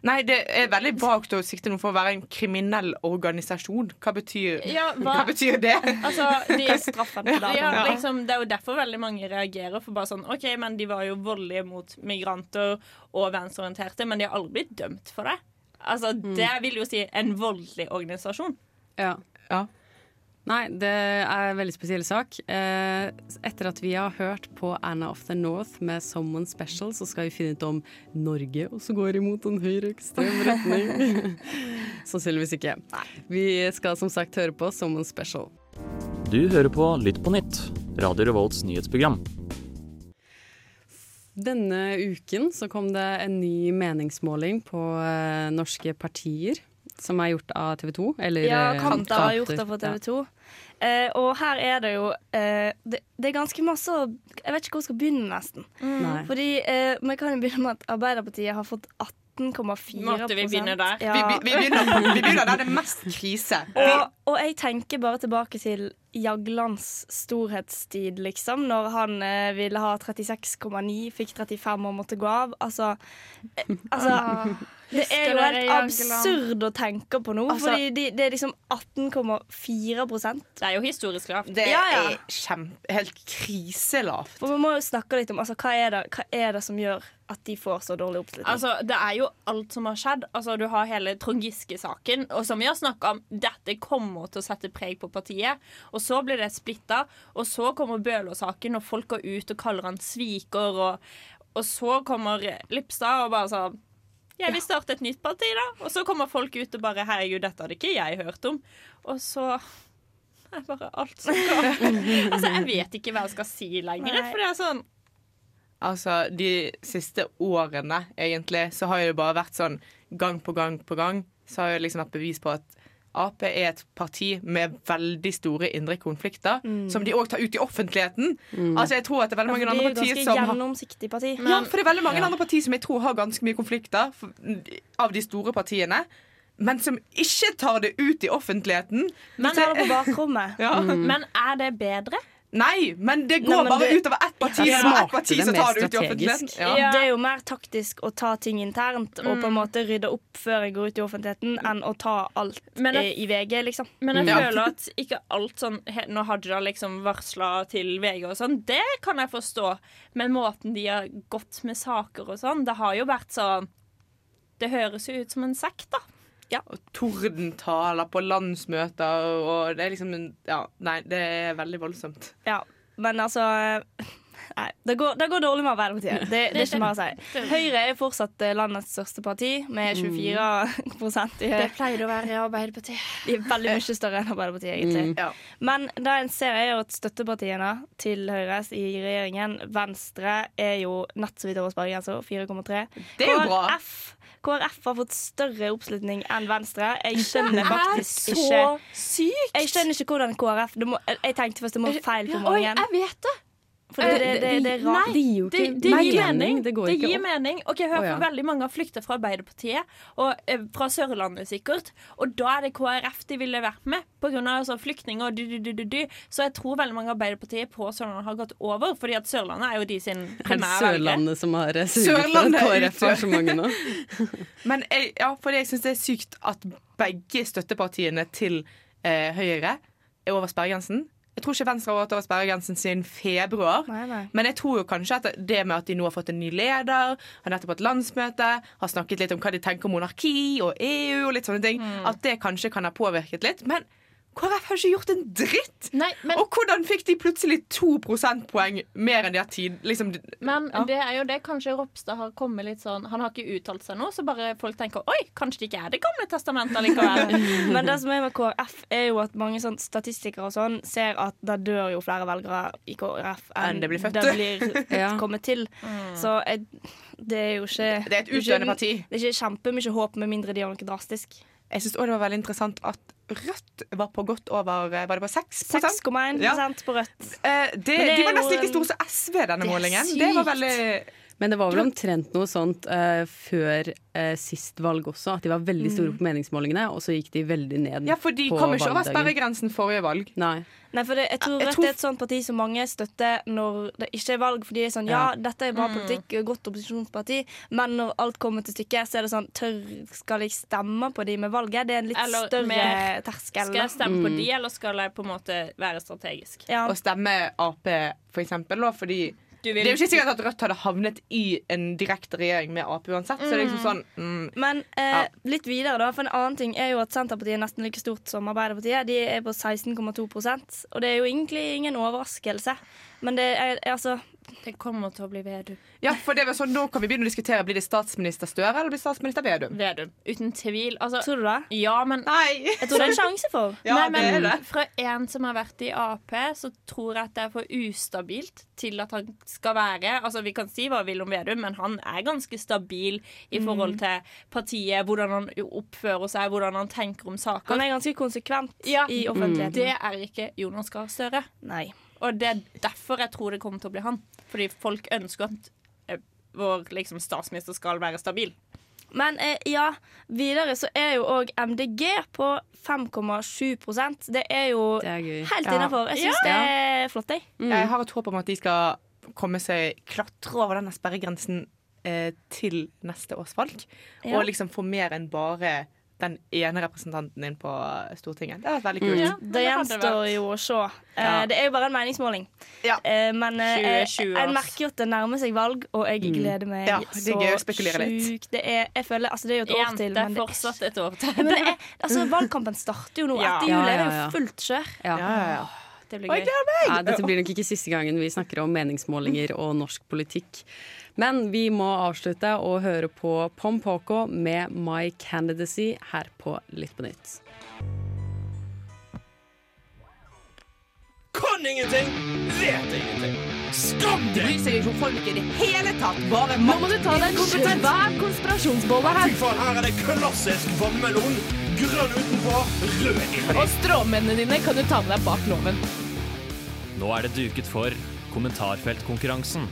[SPEAKER 8] Nei, det er veldig vagt å sikte noe for å være en kriminell organisasjon. Hva betyr,
[SPEAKER 7] Ja,
[SPEAKER 8] hva?
[SPEAKER 7] hva-
[SPEAKER 8] betyr det?
[SPEAKER 9] (laughs)
[SPEAKER 7] Altså, de
[SPEAKER 9] Hva er straffen for det?
[SPEAKER 7] (laughs) Ja, liksom, det er jo derfor veldig mange reagerer. For bare sånn, ok, men De var jo voldelige mot migranter og venstreorienterte, men de har aldri blitt dømt for det. Altså, Det vil jo si en voldelig organisasjon.
[SPEAKER 6] Ja. Nei, det er en veldig spesiell sak. Eh, etter at vi har hørt på Anna of the North med Someone Special, så skal vi finne ut om Norge også går imot en
[SPEAKER 8] (laughs)
[SPEAKER 6] høyreekstrem retning. Sannsynligvis ikke. Vi skal som sagt høre på Someone Special.
[SPEAKER 10] Du hører på Lytt på nytt, Radio Revolts nyhetsprogram.
[SPEAKER 6] Denne uken så kom det en ny meningsmåling på eh, norske partier, som er gjort av TV 2. Eller
[SPEAKER 9] Ja,
[SPEAKER 6] eh,
[SPEAKER 9] Kanter har gjort det
[SPEAKER 6] Kanter,
[SPEAKER 9] på TV
[SPEAKER 6] ja.
[SPEAKER 9] 2. og her er det jo eh, det, det er ganske masse å- Jeg vet ikke hvor jeg skal begynne, nesten.
[SPEAKER 6] Nei.
[SPEAKER 9] Fordi eh, Vi kan jo begynne med at Arbeiderpartiet har fått 18,4
[SPEAKER 7] Måtte vi begynne der?
[SPEAKER 9] Ja.
[SPEAKER 8] Vi, vi, vi, begynner, vi begynner der det er mest krise.
[SPEAKER 9] Og, og jeg tenker bare tilbake til Jaglands storhetstid, liksom. Når han eh, ville ha 36,9, fikk 35 og måtte gå av. Altså, eh, altså Det er jo
[SPEAKER 7] Husker
[SPEAKER 9] helt
[SPEAKER 7] dere Jagland?
[SPEAKER 9] absurd å tenke på nå.
[SPEAKER 7] Altså-
[SPEAKER 9] fordi de, det er liksom 18,4
[SPEAKER 7] Det er jo historisk lavt.
[SPEAKER 9] Det Ja, ja. er
[SPEAKER 8] helt kriselavt.
[SPEAKER 9] Og vi må jo snakke litt om altså, hva, er det, hva er det som gjør at de får så dårlig oppslutning?
[SPEAKER 7] Altså, Det er jo alt som har skjedd. Altså, Du har hele Trond Giske-saken. Og som vi har snakka om, dette kommer til å sette preg på partiet. Og så blir det splitta, og så kommer Bøhler-saken, og folk går ut og kaller han sviker. Og, og så kommer Lipstad og bare sånn Jeg vil starte et nytt parti, da. Og så kommer folk ut og bare Herregud, dette hadde ikke jeg hørt om. Og så er bare alt som går.
[SPEAKER 9] (laughs)
[SPEAKER 7] altså, jeg vet ikke hva jeg skal si lenger,
[SPEAKER 8] Nei.
[SPEAKER 7] for det er sånn
[SPEAKER 8] Altså, de siste årene, egentlig, så har jo det bare vært sånn gang på gang på gang, så har jo det liksom vært bevis på at Ap er et parti med veldig store indre konflikter,
[SPEAKER 9] Mm.
[SPEAKER 8] som de òg tar ut i offentligheten.
[SPEAKER 9] Mm.
[SPEAKER 8] Altså, jeg tror at det er veldig mange
[SPEAKER 9] Ja, for
[SPEAKER 8] andre
[SPEAKER 9] det er jo
[SPEAKER 8] partier
[SPEAKER 9] ganske
[SPEAKER 8] som har
[SPEAKER 9] gjennomsiktig parti.
[SPEAKER 8] ja, for det er veldig mange andre partier som jeg tror har ganske mye konflikter for- av de store partiene, men som ikke tar det ut i offentligheten.
[SPEAKER 9] Men- tar det på bakrommet.
[SPEAKER 8] (laughs) ja.
[SPEAKER 9] Mm. Men
[SPEAKER 8] er det bedre? Nei, men det går
[SPEAKER 9] Nei, men
[SPEAKER 8] bare
[SPEAKER 9] det-
[SPEAKER 8] utover ett parti.
[SPEAKER 9] Ja.
[SPEAKER 8] som er ett parti som tar det ut i offentligheten. Ja.
[SPEAKER 9] Det er jo mer taktisk å ta ting internt og på en måte rydde opp før jeg går ut i offentligheten, enn å ta alt
[SPEAKER 7] Men jeg-
[SPEAKER 9] eh, i VG, liksom.
[SPEAKER 7] Men
[SPEAKER 8] Mm.
[SPEAKER 7] jeg føler at ikke alt sånn he- Når Hadia liksom varsla til VG og sånn, det kan jeg forstå. Men måten de har gått med saker og sånn, det har jo vært sånn Det høres jo ut som en sekk, da.
[SPEAKER 8] Og Tordentaler på landsmøter og det er liksom en- Ja, nei, det er veldig voldsomt.
[SPEAKER 9] Ja, men altså (laughs) Nei, det går, det går dårlig med Arbeiderpartiet. Det, det er ikke mer å si. Høyre er fortsatt eh, landets største parti,
[SPEAKER 8] Mm.
[SPEAKER 9] med 24 i
[SPEAKER 4] Det pleier å være Arbeiderpartiet.
[SPEAKER 9] De er veldig mye større enn Arbeiderpartiet, egentlig.
[SPEAKER 4] Mm. Ja.
[SPEAKER 9] Men det en ser, er jo at støttepartiene til Høyre i regjeringen, Venstre, er jo nett så vidt over altså, sparegrensa, 4,3.
[SPEAKER 8] Det er jo bra.
[SPEAKER 9] KrF, KrF har fått større oppslutning enn Venstre. Jeg skjønner
[SPEAKER 7] Det er
[SPEAKER 9] faktisk
[SPEAKER 7] så
[SPEAKER 9] ikke sykt! Jeg skjønner ikke hvordan KrF det må, Jeg tenkte først det må være feil på
[SPEAKER 7] Eh, Oi,
[SPEAKER 9] morgenen.
[SPEAKER 7] jeg vet det! Eh,
[SPEAKER 9] For det- det- det- det er rart.
[SPEAKER 7] Nei,
[SPEAKER 9] Det gir jo ikke
[SPEAKER 7] det, det gir
[SPEAKER 9] mening.
[SPEAKER 7] mening.
[SPEAKER 9] Det går
[SPEAKER 7] det
[SPEAKER 9] ikke
[SPEAKER 7] gir
[SPEAKER 9] opp.
[SPEAKER 7] mening. Ok, hør,
[SPEAKER 9] Å, ja.
[SPEAKER 7] for Veldig mange har flykta fra Arbeiderpartiet, og eh, fra Sørlandet sikkert. Og da er det KrF de ville vært med, pga. Altså, flyktninger og du-du-du-du. Så jeg tror veldig mange av Arbeiderpartiet på Sørlandet har gått over, fordi at Sørlandet er jo de sin
[SPEAKER 6] Er det
[SPEAKER 7] primære velgere.
[SPEAKER 6] Sørlandet som har eh, sørget for at
[SPEAKER 8] Sørlandet er
[SPEAKER 6] KrF har så mange
[SPEAKER 8] (laughs)
[SPEAKER 6] nå?
[SPEAKER 8] Men jeg, ja, for jeg syns det er sykt at begge støttepartiene til eh, Høyre er over sperregrensen. Jeg tror ikke Venstre har vært over sperregrensen siden februar. Men jeg tror jo kanskje at det med at de nå har fått en ny leder, har nettopp hatt landsmøte, har snakket litt om hva de tenker om monarki og EU og litt sånne ting, at det kanskje kan ha påvirket litt. Men KrF har ikke gjort en dritt! Og hvordan fikk de plutselig to prosentpoeng mer enn de har tid? Liksom,
[SPEAKER 7] Men det er jo det kanskje Ropstad har kommet litt sånn Han har ikke uttalt seg nå, så bare folk tenker Oi, kanskje det ikke er Det gamle testamentet likevel. (laughs)
[SPEAKER 9] Men det som er med KrF, er jo at mange sånn statistikere og sånn ser at det dør jo flere velgere i KrF
[SPEAKER 8] Enn det blir født.
[SPEAKER 9] det blir
[SPEAKER 8] (laughs)
[SPEAKER 9] (laughs)
[SPEAKER 8] Ja.
[SPEAKER 9] kommet til. Så jeg, det er jo ikke
[SPEAKER 8] Det er et utdøende parti.
[SPEAKER 9] Det er ikke kjempemye håp, med mindre de gjør noe drastisk.
[SPEAKER 8] Jeg syns òg det var veldig interessant at Rødt var på godt over eh, Var det på 6
[SPEAKER 9] 6,1 på Rødt.
[SPEAKER 8] Eh, det,
[SPEAKER 9] Men det
[SPEAKER 8] de
[SPEAKER 9] er
[SPEAKER 8] var nesten
[SPEAKER 9] jo
[SPEAKER 8] like store som SV, denne
[SPEAKER 9] Det er
[SPEAKER 8] målingen. Det var veldig
[SPEAKER 6] Men det var vel omtrent noe sånt eh, før eh, sist valg også, at de var veldig store på meningsmålingene, og så gikk de veldig ned
[SPEAKER 8] Mm. Ja, for de
[SPEAKER 6] på
[SPEAKER 8] kom ikke over
[SPEAKER 6] valgdagen.
[SPEAKER 8] sperregrensen forrige valg.
[SPEAKER 6] Nei.
[SPEAKER 9] Nei, for det, jeg tror
[SPEAKER 8] Jeg
[SPEAKER 9] Rødt
[SPEAKER 8] tror-
[SPEAKER 9] er et sånt sånn parti som mange støtter når det ikke er valg. Fordi de er sånn, ja,
[SPEAKER 6] Ja.
[SPEAKER 9] dette er bra
[SPEAKER 6] Mm.
[SPEAKER 9] politikk, godt opposisjonsparti, men når alt kommer til stykket, så er det sånn tør, Skal jeg stemme på de med valget? Det er en litt
[SPEAKER 7] Eller
[SPEAKER 9] større
[SPEAKER 7] mer,
[SPEAKER 9] terskel.
[SPEAKER 7] Skal jeg stemme på
[SPEAKER 8] Mm.
[SPEAKER 7] de, eller skal jeg på en måte være strategisk?
[SPEAKER 8] Å stemme Ap, for eksempel, da, fordi
[SPEAKER 7] Du vil-
[SPEAKER 8] Det er jo ikke sikkert at Rødt hadde havnet i en direkte regjering med Ap uansett. Så det er liksom sånn mm,
[SPEAKER 9] Men eh, litt videre, da. For en annen ting er jo at Senterpartiet er nesten like stort som Arbeiderpartiet. De er på 16,2 Og det er jo egentlig ingen overraskelse. Men det er, er altså
[SPEAKER 7] Det kommer til å bli Vedum.
[SPEAKER 8] Ja, for det var sånn, Nå kan vi begynne å diskutere Blir det statsminister Støre eller blir det statsminister Vedum.
[SPEAKER 7] Vedum. Uten tvil. Altså,
[SPEAKER 9] tror du det?
[SPEAKER 7] Ja, men
[SPEAKER 8] Nei.
[SPEAKER 9] Jeg tror det er en sjanse
[SPEAKER 8] (laughs)
[SPEAKER 9] for.
[SPEAKER 7] Nei,
[SPEAKER 9] Ja, det
[SPEAKER 7] men
[SPEAKER 9] er det.
[SPEAKER 7] Fra en som har vært i Ap, så tror jeg at det er for ustabilt til at han skal være Altså, Vi kan si hva vi vil om Vedum, men han er ganske stabil i
[SPEAKER 9] Mm.
[SPEAKER 7] forhold til partiet, hvordan han oppfører seg, hvordan han tenker om saker.
[SPEAKER 9] Han er ganske konsekvent
[SPEAKER 7] ja, Mm.
[SPEAKER 9] i offentligheten.
[SPEAKER 7] Det er ikke Jonas Gahr Støre.
[SPEAKER 9] Nei.
[SPEAKER 7] Og det er derfor jeg tror det kommer til å bli han. Fordi folk ønsker at eh, vår liksom, statsminister skal være stabil.
[SPEAKER 9] Men eh, ja, videre så er jo òg MDG på 5,7 Det er jo helt
[SPEAKER 8] Ja.
[SPEAKER 9] innafor. Jeg syns
[SPEAKER 8] Ja.
[SPEAKER 9] det er flott, jeg.
[SPEAKER 8] Jeg har et håp om at de skal komme seg klatre over denne sperregrensen eh, til neste års valg.
[SPEAKER 9] Ja.
[SPEAKER 8] Og liksom få mer enn bare den ene representanten inn på eh, Stortinget. Det hadde vært veldig kult.
[SPEAKER 9] Ja, Mm. det gjenstår jo å se. Eh,
[SPEAKER 8] Ja.
[SPEAKER 9] Det er jo bare en meningsmåling. Eh, Men eh,
[SPEAKER 8] 2020,
[SPEAKER 9] jeg- jeg
[SPEAKER 8] ass.
[SPEAKER 9] merker jo at det nærmer seg valg, og jeg
[SPEAKER 8] Mm.
[SPEAKER 9] gleder meg
[SPEAKER 8] Ja, det er
[SPEAKER 9] så
[SPEAKER 8] gøy å spekulere litt.
[SPEAKER 9] sjukt. Det er, jeg føler, altså, det er jo et år
[SPEAKER 7] Igjen,
[SPEAKER 9] til.
[SPEAKER 7] det er
[SPEAKER 9] men
[SPEAKER 7] fortsatt et år til.
[SPEAKER 9] Ja, men det er, altså, valgkampen starter jo nå.
[SPEAKER 6] Ja.
[SPEAKER 9] Etter
[SPEAKER 6] Ja,
[SPEAKER 9] jul er det
[SPEAKER 6] ja, ja.
[SPEAKER 9] jo fullt kjør.
[SPEAKER 6] Ja.
[SPEAKER 7] Det
[SPEAKER 9] blir gøy. gleder meg!
[SPEAKER 6] Ja, dette blir nok ikke siste gangen vi snakker om meningsmålinger og norsk politikk. Men vi må avslutte og høre på Pom Poko med My Candidacy her på Litt på nytt.
[SPEAKER 2] Kan ingenting, vet ingenting. Skam deg!
[SPEAKER 8] Bryr seg ikke om folk i det hele tatt. Bare
[SPEAKER 11] Nå må du ta deg en svær konspirasjonsbolle her.
[SPEAKER 2] Fy faen, her er det klassisk vannmelon. Grønn utenpå, rød inni.
[SPEAKER 13] Og stråmennene dine kan du ta med deg bak loven.
[SPEAKER 10] Nå er det duket for kommentarfeltkonkurransen.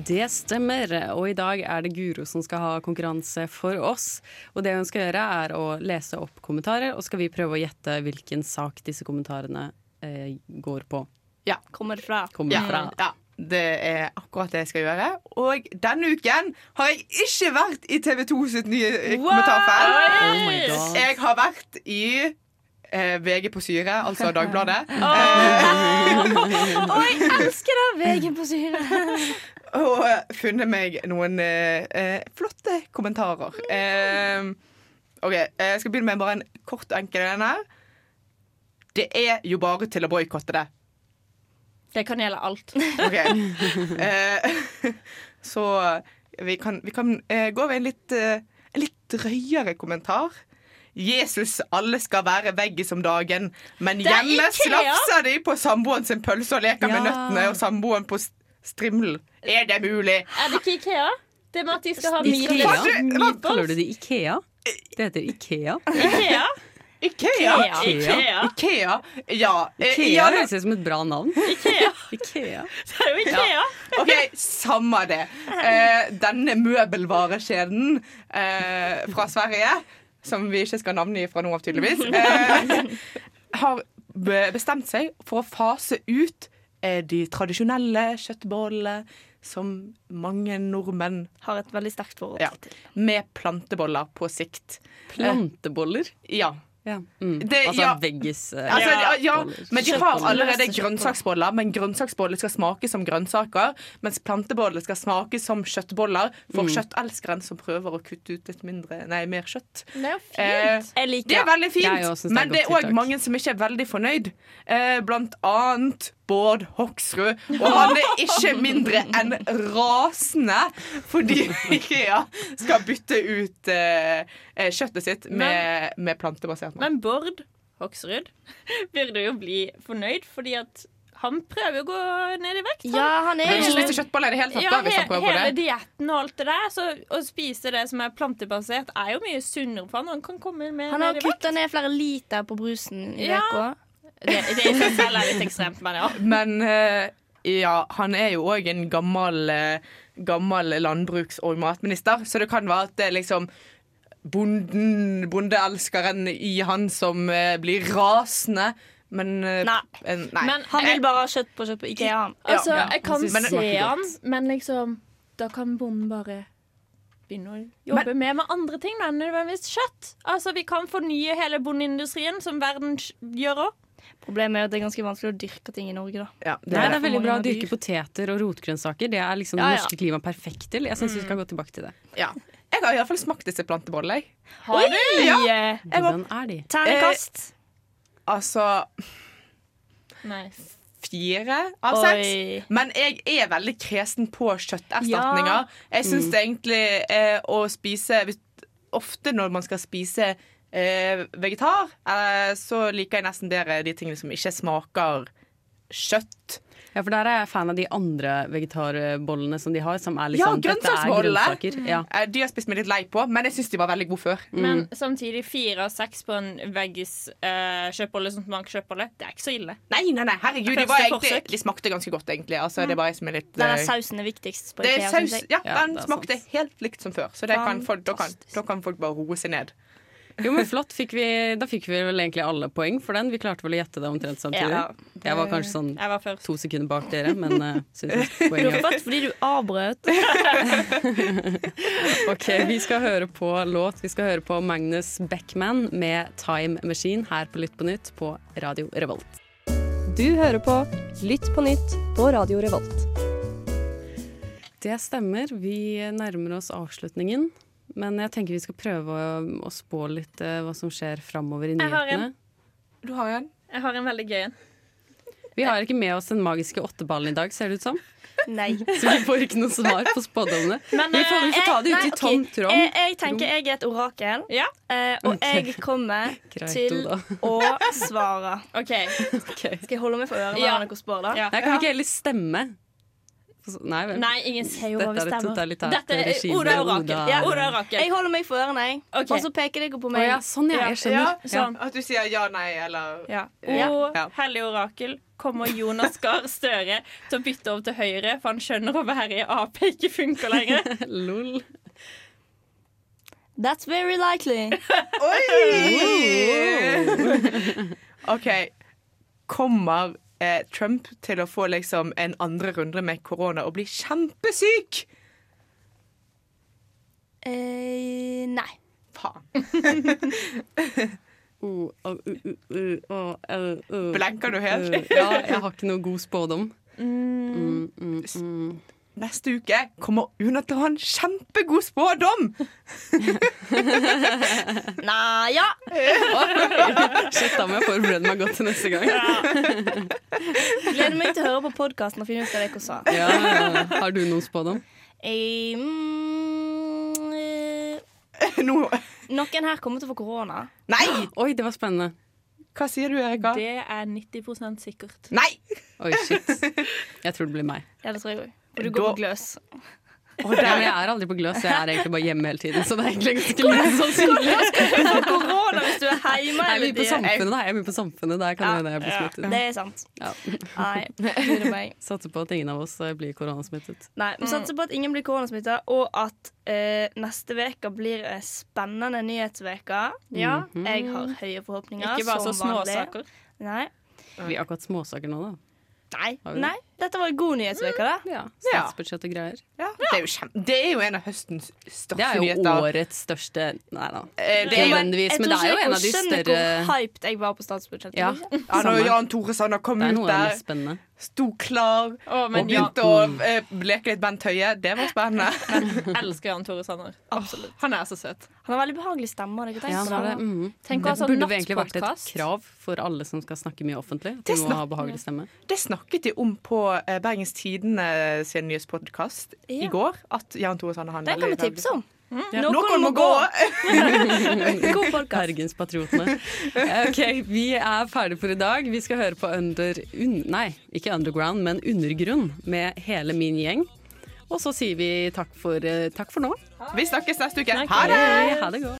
[SPEAKER 6] Det stemmer, og i dag er det Guro som skal ha konkurranse for oss. Og det hun skal gjøre, er å lese opp kommentarer, og skal vi prøve å gjette hvilken sak disse kommentarene eh, går på.
[SPEAKER 9] Ja.
[SPEAKER 14] Kommer det
[SPEAKER 7] (laughs)
[SPEAKER 14] fra?
[SPEAKER 6] Kommer
[SPEAKER 9] ja.
[SPEAKER 6] fra.
[SPEAKER 9] Ja. Det er akkurat det jeg skal gjøre. Og denne uken har jeg ikke vært i TV 2 sitt nye eh,
[SPEAKER 14] Wow!
[SPEAKER 9] kommentarfelt.
[SPEAKER 14] Oh my God.
[SPEAKER 9] jeg har vært i eh, VG på syre, altså Dagbladet.
[SPEAKER 14] Å, jeg elsker det! Vegen på syre.
[SPEAKER 9] og eh, funnet meg noen eh, eh, flotte kommentarer. Eh, OK, eh, jeg skal begynne med bare en kort og enkel en her. Det er jo bare til å boikotte det.
[SPEAKER 7] Det kan gjelde alt.
[SPEAKER 9] OK. Eh, (laughs) så vi kan, vi kan eh, gå over en litt, eh, en litt drøyere kommentar. Jesus, alle skal være veggis om dagen, men
[SPEAKER 13] Det er
[SPEAKER 9] hjemme
[SPEAKER 13] Ikea!
[SPEAKER 9] slafser de på samboeren sin pølse og leker med
[SPEAKER 7] Ja.
[SPEAKER 9] nøttene, og samboeren på s- strimlen. Er det mulig?
[SPEAKER 7] Er det ikke Ikea? Det med at de skal ha
[SPEAKER 6] Ikea?
[SPEAKER 7] meatballs.
[SPEAKER 6] Kaller du det Ikea? Det heter Ikea.
[SPEAKER 7] Ikea?
[SPEAKER 6] Ikea.
[SPEAKER 9] Ikea.
[SPEAKER 6] Ikea.
[SPEAKER 9] Ikea. Ja. eh,
[SPEAKER 6] Ikea
[SPEAKER 9] ja, det-
[SPEAKER 6] høres ut som et bra navn.
[SPEAKER 7] Ikea.
[SPEAKER 6] (laughs) Ikea.
[SPEAKER 7] Det er jo Ikea.
[SPEAKER 9] OK, samme det. Eh, denne møbelvarekjeden eh, fra Sverige, som vi ikke skal navngi fra nå av, tydeligvis, eh, har be- bestemt seg for å fase ut eh, de tradisjonelle kjøttbollene som mange nordmenn
[SPEAKER 14] Har et veldig sterkt forhold
[SPEAKER 9] ja, med planteboller på sikt.
[SPEAKER 6] Planteboller?
[SPEAKER 9] Eh, ja. Det-
[SPEAKER 6] altså
[SPEAKER 9] ja.
[SPEAKER 6] veggis... eh,
[SPEAKER 9] Altså, ja, ja,
[SPEAKER 6] boller.
[SPEAKER 9] men de
[SPEAKER 6] Kjøttboller.
[SPEAKER 9] har allerede grønnsaksboller, men grønnsaksboller skal smake som grønnsaker, mens planteboller skal smake som kjøttboller for
[SPEAKER 7] Mm.
[SPEAKER 9] kjøttelskeren som prøver å kutte ut litt mindre, nei, mer kjøtt.
[SPEAKER 7] Det er jo fint.
[SPEAKER 9] Eh,
[SPEAKER 7] Jeg liker
[SPEAKER 9] det er
[SPEAKER 7] det.
[SPEAKER 9] veldig fint,
[SPEAKER 7] Jeg også synes det er
[SPEAKER 9] men
[SPEAKER 7] et
[SPEAKER 9] det er
[SPEAKER 7] godt
[SPEAKER 9] òg
[SPEAKER 7] tiltak.
[SPEAKER 9] mange som ikke er veldig fornøyd. Eh, blant annet Bård Hoksrud. Og han er ikke mindre enn rasende
[SPEAKER 7] (laughs)
[SPEAKER 9] fordi Ikea skal bytte ut eh, eh, kjøttet sitt med, med plantebasert mat.
[SPEAKER 7] Men Bård Hoksrud (laughs) burde jo bli fornøyd, fordi at han prøver å gå ned i vekt.
[SPEAKER 14] Ja, han er-
[SPEAKER 9] Han vil ikke spise kjøttboller i det hele tatt,
[SPEAKER 7] Ja,
[SPEAKER 9] da, hvis han
[SPEAKER 7] he-
[SPEAKER 9] prøver på
[SPEAKER 7] hele
[SPEAKER 9] det.
[SPEAKER 7] dietten og alt det der. Så å spise det som er plantebasert, er jo mye sunnere for han. Han kan komme
[SPEAKER 14] Han
[SPEAKER 7] med
[SPEAKER 14] har
[SPEAKER 7] ned i vekt.
[SPEAKER 14] kutta ned flere liter på brusen i
[SPEAKER 7] Ja.
[SPEAKER 14] uka.
[SPEAKER 7] Det, det i seg selv er litt ekstremt, men ja.
[SPEAKER 9] Men eh, ja, han er jo òg en gammel, eh, gammel landbruks- og matminister, så det kan være at det er liksom bonden, bondeelskeren i han som eh, blir rasende. Men eh,
[SPEAKER 7] Nei.
[SPEAKER 9] en, nei.
[SPEAKER 7] Men Han vil jeg-
[SPEAKER 14] bare ha kjøtt på kjøtt på Ikea.
[SPEAKER 7] Altså,
[SPEAKER 9] Ja.
[SPEAKER 7] jeg kan
[SPEAKER 9] Men-
[SPEAKER 7] se han, men liksom Da kan bonden bare begynne å jobbe med med andre ting, da, enn nødvendigvis kjøtt. Altså, vi kan fornye hele bondeindustrien, som verden sj- gjør òg.
[SPEAKER 14] Problemet er at det er ganske vanskelig å dyrke ting i Norge, da.
[SPEAKER 6] Nei, det er veldig bra å dyrke poteter og rotgrønnsaker. Det er liksom
[SPEAKER 14] Ja, ja.
[SPEAKER 6] det norske klimaet perfekt til. Jeg syns vi skal gå tilbake til det.
[SPEAKER 9] Ja. Jeg har iallfall smakt disse plantebollene. jeg.
[SPEAKER 6] Har du?
[SPEAKER 9] Oi! Ja. Jeg var-
[SPEAKER 6] Hvordan er de?
[SPEAKER 14] Ternekast.
[SPEAKER 9] Eh, altså
[SPEAKER 7] Nei.
[SPEAKER 9] fire av seks. Men jeg er veldig kresen på kjøtterstatninger.
[SPEAKER 7] Ja.
[SPEAKER 9] Jeg syns
[SPEAKER 7] Mm.
[SPEAKER 9] det egentlig eh, å spise hvis- Ofte når man skal spise eh, vegetar, eh, så liker jeg nesten bedre de tingene som ikke smaker kjøtt.
[SPEAKER 6] Ja, for der er jeg fan av de andre vegetarbollene som de har, som er
[SPEAKER 9] ja,
[SPEAKER 6] liksom dette er
[SPEAKER 9] grønnsaksboller!
[SPEAKER 6] grønnsaker. Ja.
[SPEAKER 9] Eh, De har spist meg litt lei på, men jeg syns de var veldig gode før.
[SPEAKER 8] Mm.
[SPEAKER 7] Men samtidig fire av seks på en veggis eh, kjøttbolle som smaker kjøttbolle, det er ikke så ille.
[SPEAKER 9] Nei, nei, nei, herregud, de,
[SPEAKER 7] Første
[SPEAKER 9] var egentlig,
[SPEAKER 7] forsøk. Mm.
[SPEAKER 9] de smakte ganske godt, egentlig. Altså, det er bare jeg som er litt
[SPEAKER 14] Den
[SPEAKER 9] eh,
[SPEAKER 14] er sausen er viktigst på
[SPEAKER 9] det er
[SPEAKER 14] Ikea.
[SPEAKER 9] saus,
[SPEAKER 14] synes jeg.
[SPEAKER 9] ja, den smakte helt likt som før, så det kan folk, da, kan, da kan folk bare roe seg ned.
[SPEAKER 6] Jo, men flott. Fikk vi, da fikk vi vel egentlig alle poeng for den. Vi klarte vel å gjette det omtrent samtidig.
[SPEAKER 14] Ja.
[SPEAKER 6] Jeg var kanskje sånn
[SPEAKER 7] Jeg var først.
[SPEAKER 6] to sekunder bak dere, men uh, syns jeg
[SPEAKER 14] Du har
[SPEAKER 6] poenget.
[SPEAKER 14] fått fordi du avbrøt.
[SPEAKER 6] Ok, Vi skal høre på låt. Vi skal høre på Magnus Beckman med 'Time Machine' her på Lytt på nytt på Radio Revolt.
[SPEAKER 15] Du hører på Lytt på nytt på Radio Revolt.
[SPEAKER 6] Det stemmer. Vi nærmer oss avslutningen. Men jeg tenker vi skal prøve å, å spå litt eh, hva som skjer framover i
[SPEAKER 7] Jeg har en.
[SPEAKER 6] nyhetene.
[SPEAKER 9] Du har en?
[SPEAKER 7] Jeg har en veldig gøy en.
[SPEAKER 6] Vi har ikke med oss den magiske åtteballen i dag, ser det ut som.
[SPEAKER 14] Nei.
[SPEAKER 6] Så vi får ikke noe svar på
[SPEAKER 7] (laughs)
[SPEAKER 6] spådommene. vi, får, vi får ta
[SPEAKER 7] eh,
[SPEAKER 6] det ut i tom tråd.
[SPEAKER 14] Jeg, jeg tenker jeg er et orakel, eh, og
[SPEAKER 6] Ok.
[SPEAKER 14] jeg kommer
[SPEAKER 6] Greit,
[SPEAKER 14] til
[SPEAKER 6] Oda.
[SPEAKER 14] å svare.
[SPEAKER 7] Ok.
[SPEAKER 14] Skal jeg holde meg for ørene
[SPEAKER 6] Ja.
[SPEAKER 14] når dere spør, da?
[SPEAKER 6] Nei, kan vi ikke heller stemme? Nei vel.
[SPEAKER 7] Nei, ingen ser jo hva vi
[SPEAKER 6] Dette er et
[SPEAKER 7] stemmer.
[SPEAKER 6] totalitært
[SPEAKER 7] Dette er
[SPEAKER 6] regime.
[SPEAKER 7] Oda og Rakel. Ja, Oda og Rakel.
[SPEAKER 9] Jeg holder meg for ørene, jeg.
[SPEAKER 7] Ok.
[SPEAKER 9] Og så peker dere på
[SPEAKER 7] Å
[SPEAKER 9] meg.
[SPEAKER 7] ja, sånn, ja, jeg skjønner.
[SPEAKER 8] Ja,
[SPEAKER 7] Ja.
[SPEAKER 8] At du sier ja, nei, eller
[SPEAKER 7] Ja.
[SPEAKER 8] Ja.
[SPEAKER 7] Og hellig orakel kommer Jonas Gahr Støre til å bytte over til Høyre, for han skjønner å være i Ap ikke funker lenger.
[SPEAKER 6] (laughs) Lol.
[SPEAKER 9] That's very likely.
[SPEAKER 8] OK. Kommer eh, Trump til å få liksom en andre runde med korona og bli kjempesyk?
[SPEAKER 9] Eh, nei.
[SPEAKER 8] Faen.
[SPEAKER 6] Oh, oh, uh, uh, uh, oh, uh, uh.
[SPEAKER 8] Blenker du helt?
[SPEAKER 6] Uh, ja, jeg har ikke noe god spådom.
[SPEAKER 8] Mm, Neste uke kommer Una til å ha en kjempegod spådom!
[SPEAKER 9] Nei, ja.
[SPEAKER 6] Shit, da må jeg forberede meg godt til neste gang.
[SPEAKER 9] Gleder meg til å høre på podkasten og finne ut hva dere sa.
[SPEAKER 6] Ja, ja. Har du noen spådom?
[SPEAKER 9] Eh, mm,
[SPEAKER 8] (laughs)
[SPEAKER 9] eh, Noen her kommer til å få korona.
[SPEAKER 8] Nei!
[SPEAKER 6] Oi, det var spennende.
[SPEAKER 8] Hva sier du, Erika?
[SPEAKER 7] Det er 90 sikkert.
[SPEAKER 8] Nei!
[SPEAKER 6] Oi, shit. Jeg tror det blir meg.
[SPEAKER 9] Ja, det tror jeg òg. Og du går
[SPEAKER 8] Da-
[SPEAKER 9] på gløs.
[SPEAKER 6] Ja, men jeg er aldri på gløs, jeg er egentlig bare hjemme hele tiden. Så det er egentlig ganske (laughs) lite sannsynlig.
[SPEAKER 9] (laughs) Hvordan skal du få sånn korona hvis du er hjemme
[SPEAKER 6] Jeg er
[SPEAKER 9] hele
[SPEAKER 6] mye på
[SPEAKER 9] tiden?
[SPEAKER 6] samfunnet, da. Jeg er mye på samfunnet, Der kan det hende jeg blir
[SPEAKER 9] Ja,
[SPEAKER 6] smittet.
[SPEAKER 9] det er sant.
[SPEAKER 6] Ja.
[SPEAKER 9] Nei, lurer meg.
[SPEAKER 6] Satser på at ingen av oss eh, blir koronasmittet.
[SPEAKER 9] Nei, vi satser på at ingen blir koronasmitta, og at eh, neste uke blir en spennende nyhetsveke.
[SPEAKER 6] Ja. Mhm.
[SPEAKER 9] Jeg har høye forhåpninger.
[SPEAKER 7] Ikke bare
[SPEAKER 9] som
[SPEAKER 7] så
[SPEAKER 9] vanlig.
[SPEAKER 6] altså.
[SPEAKER 7] småsaker.
[SPEAKER 9] Nei.
[SPEAKER 6] Vi har akkurat småsaker nå, da.
[SPEAKER 9] Nei.
[SPEAKER 6] Har vi det?
[SPEAKER 9] Nei. Dette var en god nyhetsveke, da.
[SPEAKER 6] Ja. Statsbudsjett og greier.
[SPEAKER 8] Det, er jo kjem- det er jo en av høstens
[SPEAKER 6] Det
[SPEAKER 8] største
[SPEAKER 6] er jo
[SPEAKER 8] nyheter.
[SPEAKER 6] årets største Nei da,
[SPEAKER 8] Eh, det
[SPEAKER 6] ikke
[SPEAKER 8] er-
[SPEAKER 6] nødvendigvis, men det er jo en av de
[SPEAKER 9] Jeg tror ikke dere skjønner
[SPEAKER 6] større
[SPEAKER 9] hvor hyped jeg var på statsbudsjettet. liksom.
[SPEAKER 6] Ja,
[SPEAKER 8] Ja, når
[SPEAKER 6] samme.
[SPEAKER 8] Jan Tore Sanner kom
[SPEAKER 6] Det er
[SPEAKER 8] ut
[SPEAKER 6] noe av det
[SPEAKER 8] der,
[SPEAKER 6] mest spennende.
[SPEAKER 8] sto klar
[SPEAKER 7] men
[SPEAKER 8] og begynte å
[SPEAKER 6] Mm.
[SPEAKER 8] eh, leke litt Bent Høie, det var spennende.
[SPEAKER 7] Jeg elsker Jan Tore Sanner. Absolutt. Han er så søt.
[SPEAKER 9] Han har veldig behagelig stemme. har dere tenkt
[SPEAKER 6] Ja,
[SPEAKER 9] på
[SPEAKER 6] det, er det.
[SPEAKER 9] det?
[SPEAKER 6] Mhm.
[SPEAKER 7] Tenk å
[SPEAKER 6] det
[SPEAKER 7] ha sånn
[SPEAKER 6] burde jo egentlig vært et
[SPEAKER 7] nattpodcast.
[SPEAKER 6] krav for alle som skal snakke mye offentlig. At de må ha behagelig stemme.
[SPEAKER 8] Det snakket de om på eh, Bergens Tidende sin nyhetspodkast
[SPEAKER 9] Ja.
[SPEAKER 8] i går. At Jan Tore Sanner har en
[SPEAKER 9] Den kan vi
[SPEAKER 8] veldig
[SPEAKER 9] tipse om.
[SPEAKER 6] Ja.
[SPEAKER 8] Noen, må gå!
[SPEAKER 9] (laughs) God podcast.
[SPEAKER 6] Bergenspatriotene. Eh, Ok, Vi er ferdige for i dag. Vi skal høre på under, un, Nei, ikke Underground, men Undergrunn med hele min gjeng. Og så sier vi takk for, eh, takk for nå.
[SPEAKER 8] Vi snakkes neste uke.
[SPEAKER 6] Takk.
[SPEAKER 8] Ha det!
[SPEAKER 6] Ha det godt.